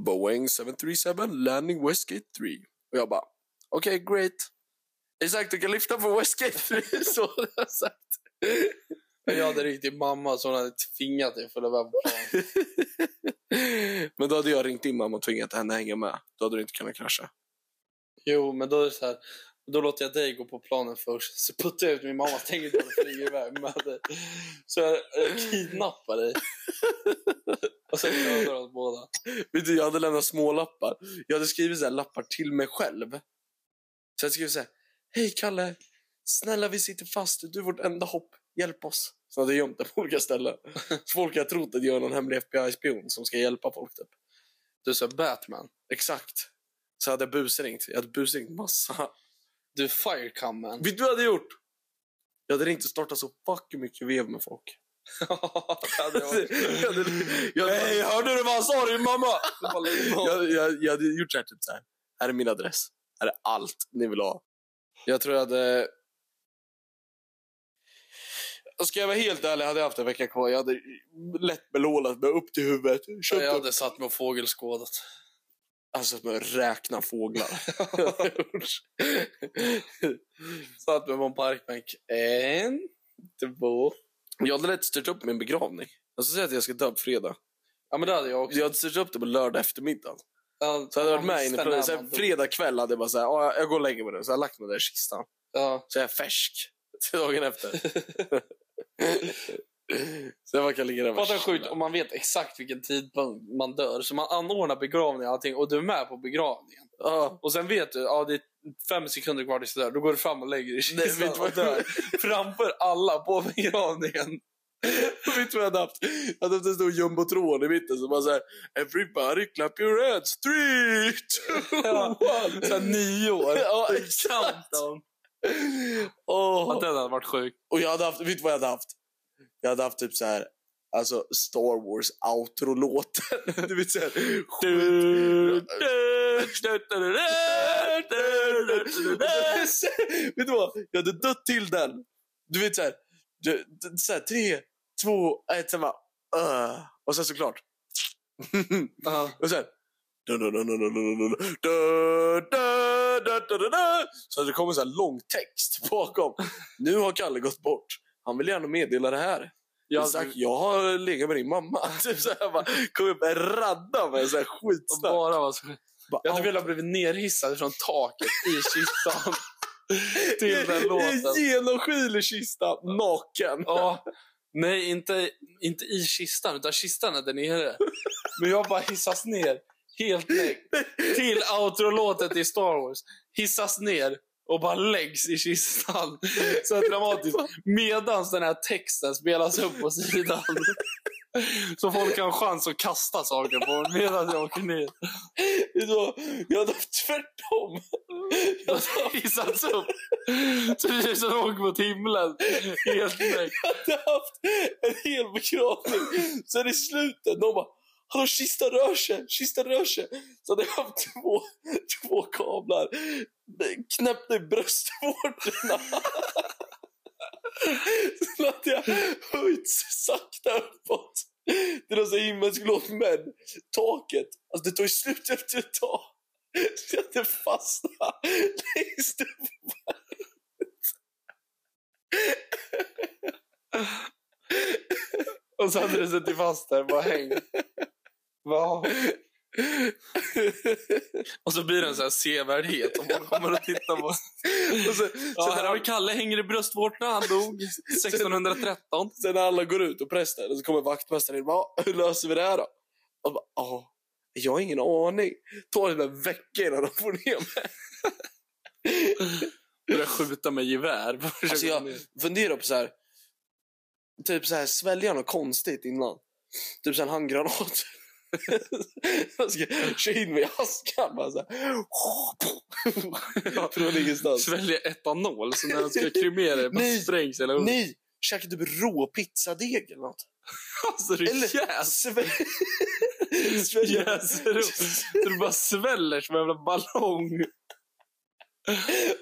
Boeing 737 landing Westgate 3. Och jag bara, okej, great. Isak, du kan lyfta på Westgate 3. så har jag sagt.
Men Jag hade ringt din mamma så hon hade tvingat dig att följa med på plan.
Men då hade jag ringt din mamma och tvingat henne hänga med. Då hade du inte kunnat krascha.
Jo, men då är det så här. Då låter jag dig gå på planen först, så puttar jag ut min mamma tänker att jag flyger iväg med dig. Så jag, jag kidnappar dig. Och sen dödar oss båda.
Vet du, jag hade lämnat små lappar. Jag hade skrivit så här lappar till mig själv. Så jag skrev så här. Hej Kalle! Snälla vi sitter fast, du är vårt enda hopp. Hjälp oss. Så hade jag gömt det på olika ställen. Så folk har trott att jag är någon hemlig FBI-spion som ska hjälpa folk typ.
Du är så här Batman.
Exakt. Så hade jag busringt. Jag hade busringt massa.
Du är Firecomen.
Vet du vad jag hade gjort? Jag hade ringt och startat så fucking mycket vev med folk. Jag hade- jag hade-
Hej, hörde du vad han sa din mamma?
jag, jag, jag hade gjort så här, typ så här. Här är min adress. Här är allt ni vill ha. Jag tror jag hade... Alltså, Ska jag vara helt ärlig hade jag haft en vecka kvar. Jag hade lätt belånat mig upp till huvudet. Köpt
Jag
upp.
hade satt mig och fågelskådat.
Alltså med att räkna fåglar.
Satt mig på en parkbänk. En, två.
jag hade lätt styrt upp min begravning. Alltså säg att jag ska dö på fredag.
Ja, men det hade jag också.
Jag hade styrt upp det på lördag eftermiddag.
Ja,
Så hade jag varit
man
med inne
visste
på
när
Sen
man dog.
fredag kväll hade jag bara så här, "Ja, jag går och lägger mig nu. Så jag har lagt mig där i kistan.
Ja.
Så jag är färsk till dagen efter. så jag kan ligga där och bara
Fatta sjukt
chilla.
om man vet exakt vilken tidpunkt man dör. Så man anordnar begravningen och allting och du är med på begravningen.
Ja.
Och sen vet du, ja det är fem sekunder kvar tills du dör. Då går du fram och lägger dig i
Nej, vet
kistan
du
och
vad-
dör. Framför alla på begravningen.
Vet du vad jag hade haft? Jag hade haft en stor jumbotron i mitten som bara såhär Everybody clap your hands! Three, two,
Ja.
one!
Såhär nio år.
Ja,
Exakt!
Åh.
den hade varit sjuk.
Och jag hade haft, vet du vad jag hade haft? Jag hade haft typ så här, alltså Star Wars outro-låten. Du vet såhär, skit. vet du vad? Jag hade dött till den. Du vet så här, du, du, så här tre, två, ett, sen bara... Uh, och sen såklart. och sen... dun, dun, dun, dun, dun, dun, dun, dun, dun, dun, dun, dun, dun. Så det kommer så här lång text bakom. Nu har Kalle gått bort. Han vill gärna meddela det här. Jag,
Jag
Isak, jag har legat med din mamma. Typ så här, bara, kom upp en radda med så här skitsnack.
bara var så sjuk.
Bara,
Jag hade
"Au."
velat blivit nerhissad från taket i kistan till den låten.
I Genomskinlig kista, naken.
Ja. Nej, inte, inte i kistan, utan kistan är där nere. Men jag bara hissas ner, helt näck, till outro-låtet i Star Wars. Hissas ner och bara läggs i kistan. Så här dramatiskt. Medan den här texten spelas upp på sidan. Så folk har en chans att kasta saker på mig medan jag åker ner.
Så, Jag hade haft tvärtom. Jag hade haft-
Hissats upp. Så det ser ut som de åker mot himlen. Helt näck.
jag hade haft en hel begravning. Sen i slutet, de bara Hallå, kistan rör sig, kistan rör sig. Så hade jag haft två, två kablar knäppt i bröstvårtorna. Sen hade jag höjt sakta uppåt. Det är så himmelsblått, men taket, alltså det tog ju slut efter ett tag. Så jag hade fastnat längst upp
Och så hade du suttit fast där bara hängt. Wow. Och så blir det en sån här sevärdhet om man kommer och tittar på.
Och sen,
Ja,
sen,
här har vi
alla,
Kalle hänger i bröstvårtorna. Han dog 1613.
sen när alla går ut och prästen, och så kommer vaktmästaren in. och bara, "Ah, Hur löser vi det här då? Och bara, ja, jag har ingen aning. Ta det en vecka innan de får ner mig.
Börjar skjuta med gevär.
Alltså, jag funderar på så här. Typ så här, svälja något konstigt innan. Typ så här en handgranat. jag ska köra in mig i askan. Bara så här. Från ingenstans.
Svälja etanol. Så när den ska krymera det bara
Nej.
sprängs hela ugnen.
Nej, käka typ rå pizzadeg eller något.
Alltså det
Eller-
jäser
Sve- Svälja.
jäser upp. Så du bara sväller som en jävla ballong.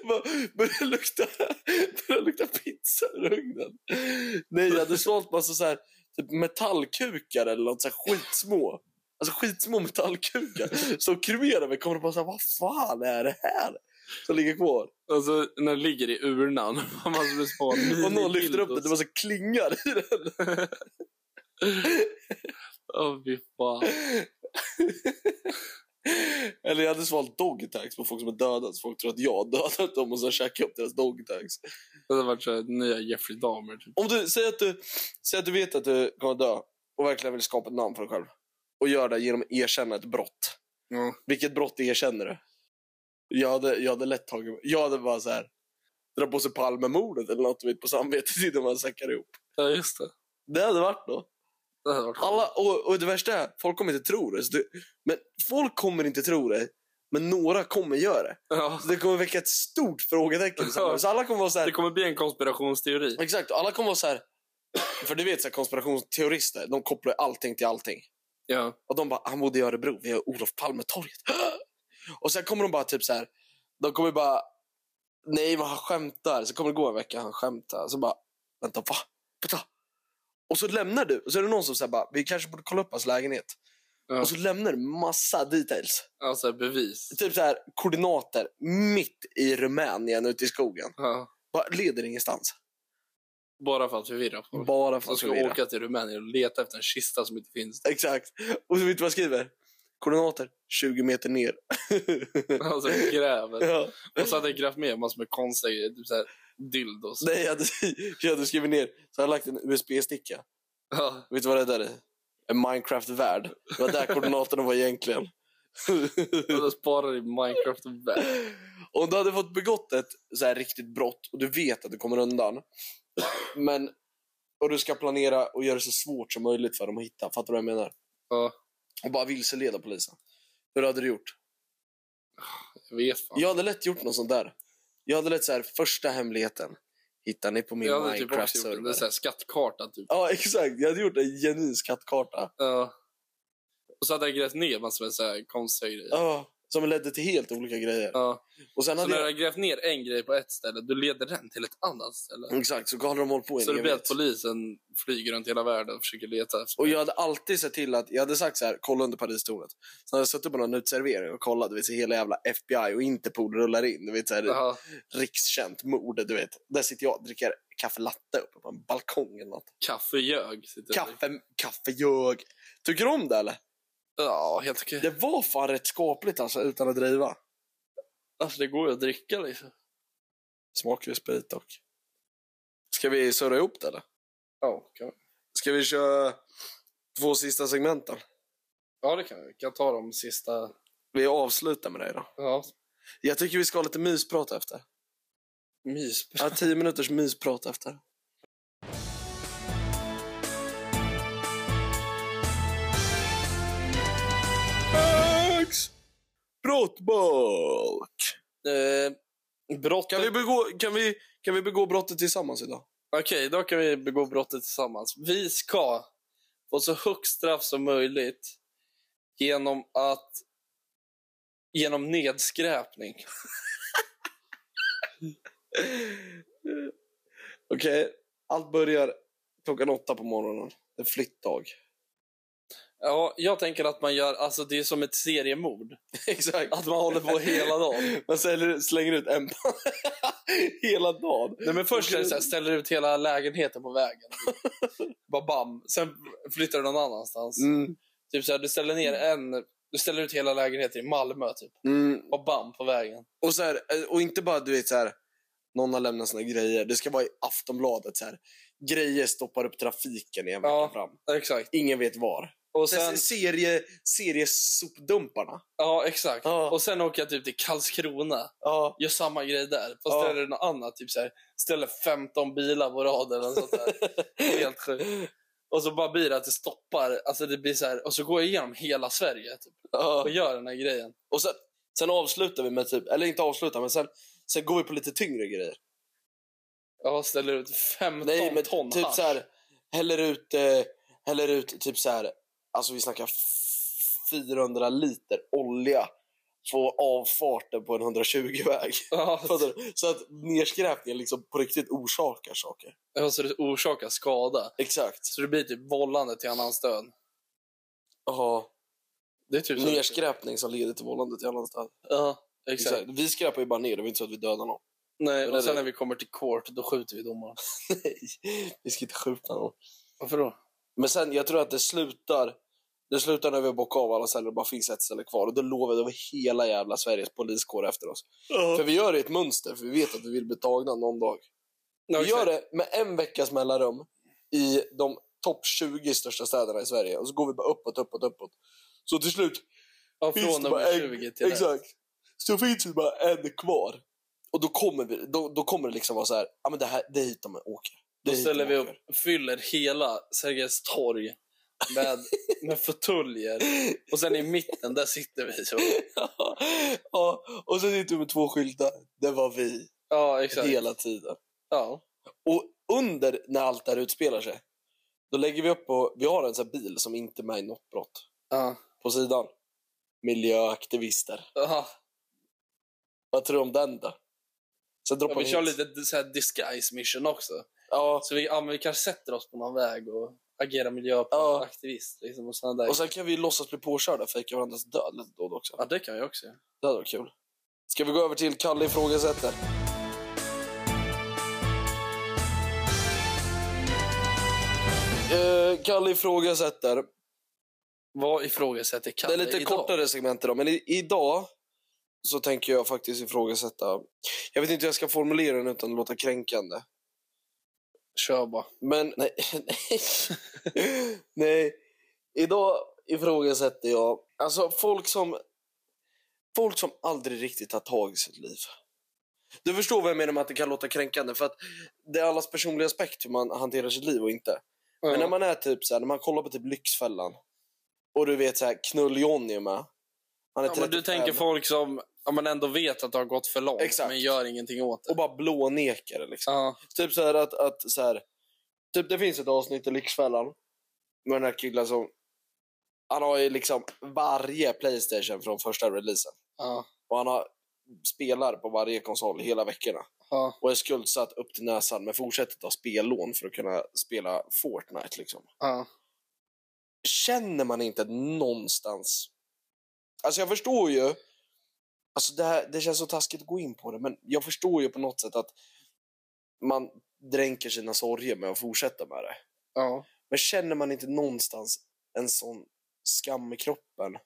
Bara Börjar lukta, börjar lukta pizza ur ugnen. Nej, jag hade svalt massa så här, typ metallkukar eller något så här skitsmå. Alltså skitsmå metallkukar. Så kremerar vi kommer och bara så här, vad fan är det här? Som ligger kvar.
Alltså när den ligger i urnan. Massor med små
Och någon lyfter upp det, det var så här klingar i den.
Åh fy fan.
Eller jag hade svalt dogtags på folk som är döda. Så folk tror att jag har dödat dem och så käkar jag upp deras dogtags.
Det hade varit så här, nya Jeffrey Dahmer. Typ.
Om du säger att du, säger att du vet att du kommer att dö och verkligen vill skapa ett namn för dig själv och gör det genom att erkänna ett brott.
Ja.
Vilket brott erkänner du? Jag hade, jag hade lätt tagit... Jag hade bara så här... Dra på sig Palmemordet eller något du vet på samvetet innan man säckar ihop.
Ja, just det.
Det hade varit något.
Det hade varit
Alla, och, och det värsta är, folk kommer inte tro det. Så du, men folk kommer inte tro det, men några kommer göra det.
Ja,
Så det kommer väcka ett stort frågetecken. i samhället. Så alla kommer vara så här...
det kommer bli en konspirationsteori.
Exakt, och alla kommer vara så här... För du vet, så här, konspirationsteorister, de kopplar ju allting till allting.
Ja.
Och de bara, han bodde i Örebro, vi har Olof Palmetorget. Och sen kommer de bara typ så här, de kommer bara, nej men han skämtar. Så kommer det gå en vecka, han skämtar. Så bara, vänta, va? Vänta. Och så lämnar du, och så är det någon som säger bara, vi kanske borde kolla upp hans lägenhet.
Ja.
Och så lämnar du massa details.
Alltså bevis.
Typ så här, koordinater mitt i Rumänien ute i skogen.
Ja.
Bara leder ingenstans.
Bara för att förvirra folk.
Bara för
Som
att
ska
förvirra.
åka till Rumänien och leta efter en kista som inte finns.
Exakt. Och så vet du vad jag skriver? Koordinater 20 meter ner.
Alltså gräver.
ja.
Och så hade jag grävt med massor med konstiga grejer. Typ såhär dildos.
Nej, jag hade, jag hade skrivit ner. Så hade jag lagt en USB-sticka.
Ja.
Vet du vad det där är? En Minecraft-värld. Det var där koordinaterna var egentligen.
Och då sparar i Minecraft och väl.
Om du hade fått begått ett så här riktigt brott och du vet att du kommer undan. Men, och du ska planera och göra det så svårt som möjligt för dem att hitta. Fattar du vad jag menar?
Ja.
Och bara vilseleda polisen. Hur hade du gjort?
Jag vet fan.
Jag hade lätt gjort något sånt där. Jag hade lätt så här, första hemligheten hittar ni på min
Jag hade typ också gjort det. Det är
Minecraft-server.
såhär skattkarta typ.
ja, exakt. Jag hade gjort en genuin skattkarta.
Ja. Och så hade jag grävt ner massor med såhär konstiga grejer.
Ja, som ledde till helt olika grejer.
Ja.
Och sen
Så
hade
när du
jag...
har grävt ner en grej på ett ställe, du leder den till ett annat ställe.
Exakt, så gav de håll på i
Så
en
det blir
evighet.
att polisen flyger runt hela världen och försöker leta efter
Och jag hade alltid sett till att, jag hade sagt så här, kolla under Paristornet. Sen hade jag suttit på någon uteservering och kollat, du vet så hela jävla FBI och Interpol rullar in. Du vet så här,
Jaha,
rikskänt mord, du vet. Där sitter jag och dricker kaffe latte uppe på en balkong eller något.
kaffegög. sitter det.
Kaffe, kaffegög. Tycker du om det eller?
Ja, helt okej.
Det var fan rätt skapligt alltså, utan att driva.
Alltså det går ju att dricka liksom.
Smakar ju sprit dock. Ska vi surra ihop det eller?
Ja, kan
Ska vi köra två sista segmenten?
ja det kan vi. Vi kan ta de sista...
Vi avslutar med det då.
Ja.
Jag tycker vi ska ha lite mysprat efter.
Mys.
Ja, tio minuters mysprat efter. Brottbok!
Eh, brottet...
Kan vi, begå, kan, vi, kan vi begå brottet tillsammans idag?
Okej, då kan vi begå brottet tillsammans. Vi ska få så högt straff som möjligt genom att... Genom nedskräpning.
Okej, allt börjar klockan åtta på morgonen. Det är flyttdag.
Ja, jag tänker att man gör... Alltså det är som ett seriemord.
Exakt.
Att man håller på hela dagen.
Man säljer, slänger ut en hela dagen.
Nej, men först är det så här, ställer ut hela lägenheten på vägen. Bara bam. Sen flyttar du någon annanstans.
Mm.
Typ så här, du ställer ner en... Du ställer ut hela lägenheten i Malmö, typ.
Mm.
Bara bam, på vägen.
Och, så här, eh, och inte bara du vet så här, någon har lämnat sina grejer. Det ska vara i Aftonbladet. Så här. Grejer stoppar upp trafiken i en vecka
Ja.
fram.
Exakt.
Ingen vet var.
Och
Sen,
sen...
sen serie, seriesopdumparna.
Ja, exakt.
Ja.
Och sen åker jag typ till Karlskrona.
Ja.
Gör samma grej där. Fast
Ja.
ställer du något annat. Typ så här, ställer 15 bilar på rad eller något sånt där. Helt sjukt. Och så bara blir det att det stoppar. Alltså det blir så här, och så går jag igenom hela Sverige typ, och
Ja.
gör den här grejen.
Och sen, sen avslutar vi med typ, eller inte avslutar, men sen, sen går vi på lite tyngre grejer.
Ja, ställer ut 15
Nej, men
ton
typ
hasch.
så här, häller ut, eh, häller ut typ så här, alltså vi snackar f- 400 liter olja. Få avfarten på en 120-väg.
Ja,
Fattar du? Så att nedskräpningen liksom på riktigt orsakar saker.
ja, så det orsakar skada.
Exakt.
Så det blir typ vållande till annans död.
Jaha.
Det är typ så-
Nedskräpning som leder till vållande till annans död.
Ja, exakt.
Exakt. Vi skräpar ju bara ner, det är inte så att vi dödar någon.
Nej,
Det är
och sen
det.
när vi kommer till court, då skjuter vi domaren.
vi ska inte skjuta någon.
Varför då?
Men sen, jag tror att det slutar det slutar när vi har bockat av alla celler och bara finns ett ställe kvar. Och då lovar vi hela jävla Sveriges poliskår efter oss. För vi gör det i ett mönster, för vi vet att vi vill bli tagna någon dag.
Ja,
Vi gör
exakt.
det med en veckas mellanrum i de topp 20 största städerna i Sverige. Och så går vi bara uppåt, uppåt, uppåt. Så till slut
Ja,
Finns
från
det bara
nummer
en-
20 till det.
Exakt. Så finns det typ bara en kvar. Och då kommer, vi, då, då kommer det liksom vara så här, ja men det här, det är hit de åker. Det är
Då
hit
ställer
de
vi
åker."
upp, fyller hela Sergels torg med, med fåtöljer. Och sen i mitten, där sitter vi. Så.
ja, och sen sitter vi med två skyltar. Det var vi
Ja, exakt.
hela tiden.
Ja.
Och under när allt det här utspelar sig, då lägger vi upp på, vi har en sån här bil som inte är med i något brott.
Ja.
På sidan. Miljöaktivister.
Ja.
Vad tror du om den då? Sen droppar
Ja, vi kör
hit.
lite så här disguise mission också.
Ja,
Så vi, ja, men vi kanske sätter oss på någon väg och agerar miljöaktivist. Liksom, och såna där.
och sen kan vi låtsas bli påkörda och fejka varandras död lite då och då också.
ja, det kan vi också göra.
Det hade varit kul. Ska vi gå över till Kalle ifrågasätter? Eh, Kalle ifrågasätter.
Vad ifrågasätter Kalle
Det är lite
idag?
kortare segment idag, men i, idag så tänker jag faktiskt ifrågasätta. Jag vet inte hur jag ska formulera den utan att låta kränkande.
Kör bara.
Men nej, nej. nej. Idag ifrågasätter jag alltså folk som folk som aldrig riktigt tar tag i sitt liv. Du förstår vad jag menar med att det kan låta kränkande för att det är allas personliga aspekt hur man hanterar sitt liv och inte. Men när man är typ så här, när man kollar på typ Lyxfällan och du vet så här knull Johnny är med. Han är
ja, men du
35
tänker folk som ja, man ändå vet att det har gått för långt
Exakt.
men gör ingenting åt det.
och bara blånekar liksom.
Ja,
Typ så här att, att så här, typ det finns ett avsnitt i Lyxfällan med den här killen som han har ju liksom varje Playstation från första releasen
ja,
och han har spelar på varje konsol hela veckorna
ja,
och är skuldsatt upp till näsan men fortsätter ta spellån för att kunna spela Fortnite liksom.
ja.
Känner man inte någonstans? Alltså jag förstår ju Alltså det, här, det känns så taskigt att gå in på det, men jag förstår ju på något sätt att man dränker sina sorger med att fortsätta med det.
ja.
Men känner man inte någonstans en sån skam i kroppen.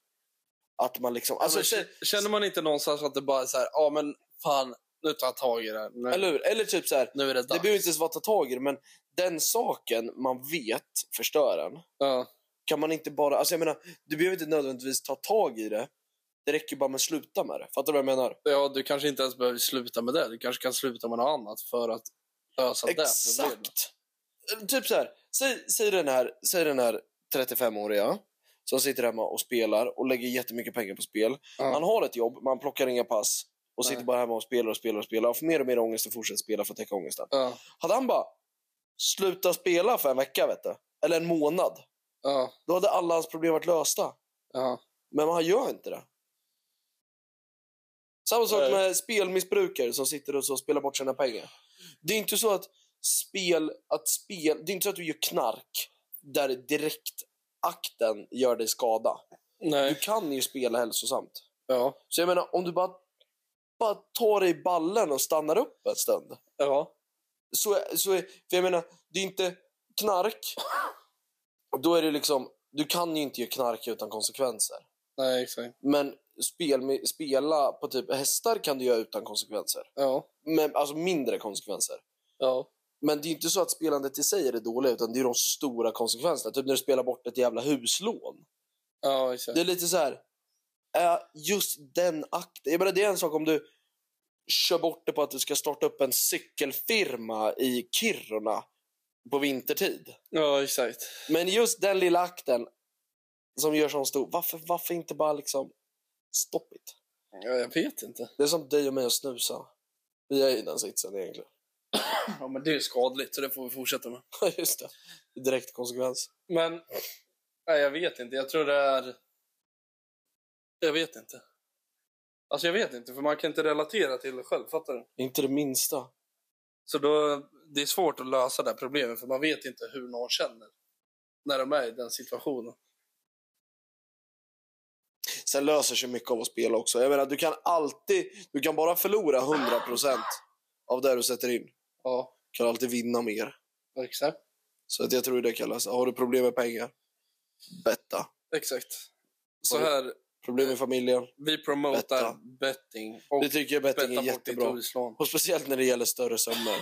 Att man liksom... Alltså,
Alltså, k- känner man inte någonstans att det bara är så här, ja ah, men fan, nu tar jag tag i det. Nu,
eller hur? Eller typ så här,
nu är det
det
dags.
behöver inte ens vara att ta tag i det, men den saken man vet förstör en.
ja.
Kan man inte bara... Alltså jag menar, du behöver inte nödvändigtvis ta tag i det. Det räcker bara med att sluta med det. Fattar du vad jag menar?
ja, du kanske inte ens behöver sluta med det. Du kanske kan sluta med något annat för att lösa det problemet.
Exakt! Typ så här, säg, säg den här, säg den här 35-åriga som sitter hemma och spelar och lägger jättemycket pengar på spel.
Ja.
Man har ett jobb, man plockar inga pass och
Nej.
sitter bara hemma och spelar och spelar och spelar och får mer och mer ångest och fortsätter spela för att täcka ångesten.
Ja,
Hade han bara slutat spela för en vecka, vet du, eller en månad,
ja,
då hade alla hans problem varit lösta.
ja.
Men han gör inte det. Samma sak
Nej.
med spelmissbrukare som sitter och så spelar bort sina pengar. Det är inte så att spel, att spel, det är inte så att du gör knark där direkt akten gör dig skada. Du
Nej.
kan ju spela hälsosamt.
Ja.
Så jag menar, om du bara, bara tar dig i ballen och stannar upp en stund.
Ja.
Så, är- så är, för jag menar, det är inte knark. Då är det liksom, du kan ju inte göra knark utan konsekvenser.
Nej, exakt.
Men spel, spela på typ hästar kan du göra utan konsekvenser.
Ja.
Men, alltså mindre konsekvenser.
Ja.
Men det är inte så att spelandet i sig är det dåliga utan det är de stora konsekvenserna. Typ när du spelar bort ett jävla huslån.
Ja, exakt.
Det är lite så här. eh, just den akten. Jag menar det är en sak om du kör bort det på att du ska starta upp en cykelfirma i Kiruna på vintertid.
Ja, exakt.
Men just den lilla akten som gör sån stor. Varför, varför inte bara liksom stopp it?
Ja, jag vet inte.
Det är som dig och mig att snusa. Vi är i den sitsen egentligen.
Ja, men det är ju skadligt, så det får vi fortsätta med.
Just det. Direkt konsekvens.
Men, nej, jag vet inte. Jag tror det är... Jag vet inte. Alltså, jag vet inte, för man kan inte relatera till det själv, fattar du?
Inte det minsta.
Så då, det är svårt att lösa det här problemet, för man vet inte hur någon känner när de är i den situationen.
Sen löser sig mycket av att spela också. Jag menar, du kan alltid... Du kan bara förlora 100% av det du sätter in.
Ja,
Du kan alltid vinna mer.
exakt.
Så att jag tror det kan lösa. Har du problem med pengar? Betta.
Exakt. Så här,
Problem med familjen?
vi promotar
Betta.
betting. Och
Det tycker jag betting
betta
är
bort ditt
jättebra.
huslån.
Och speciellt när det gäller större summor.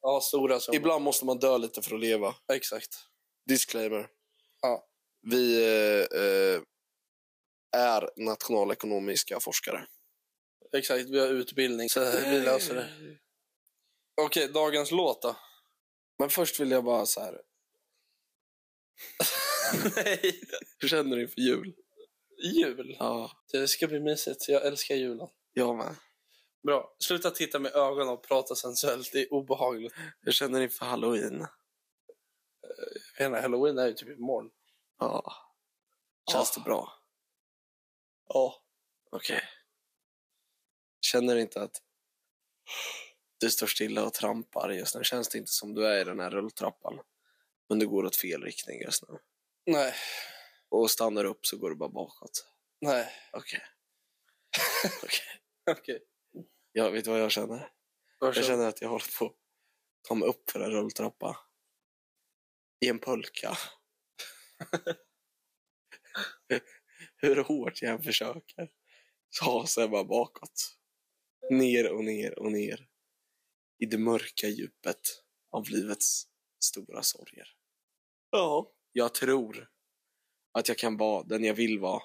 Ja, stora summor.
Ibland måste man dö lite för att leva.
Exakt.
Disclaimer.
Ja.
Vi eh, eh, är nationalekonomiska forskare.
Exakt, vi har utbildning. Så vi löser det. Okej, dagens låt då?
Men först vill jag bara så här.
Nej.
Hur känner du inför jul?
Jul.
Ja,
Det ska bli mysigt. Jag älskar julen.
jag med.
Bra. Sluta titta med ögonen och prata sensuellt. Det är obehagligt.
Hur känner du inför halloween?
Hela halloween är ju typ imorgon.
Ja. Känns det bra?
Ja.
Okej. Känner du inte att du står stilla och trampar just nu? Känns det inte som du är i den här rulltrappan? Men du går åt fel riktning just nu.
Nej.
Och stannar du upp så går du bara bakåt.
Nej.
Okej.
Okej.
Jag vet du vad jag känner? Jag känner att jag håller på att ta mig upp för en rulltrappa. I en pulka. Hur hårt jag än försöker så hasar jag bara bakåt. Ner och ner och ner. I det mörka djupet av livets stora sorger.
Ja.
Jag tror att jag kan vara den jag vill vara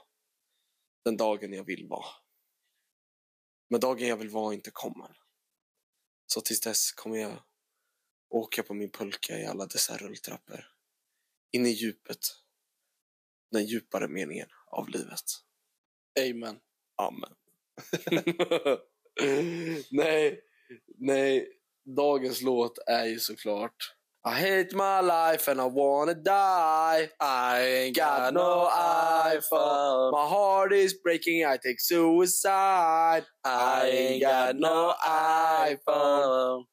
den dagen jag vill vara. Men dagen jag vill vara inte kommer. Så tills dess kommer jag åka på min pulka i alla dessa rulltrappor. In i djupet. Den djupare meningen av livet.
Amen.
Amen. nej, nej. Dagens låt är ju såklart I hate my life and I wanna die
I ain't
got no eye for- My heart is breaking, I take suicide I ain't got no iPhone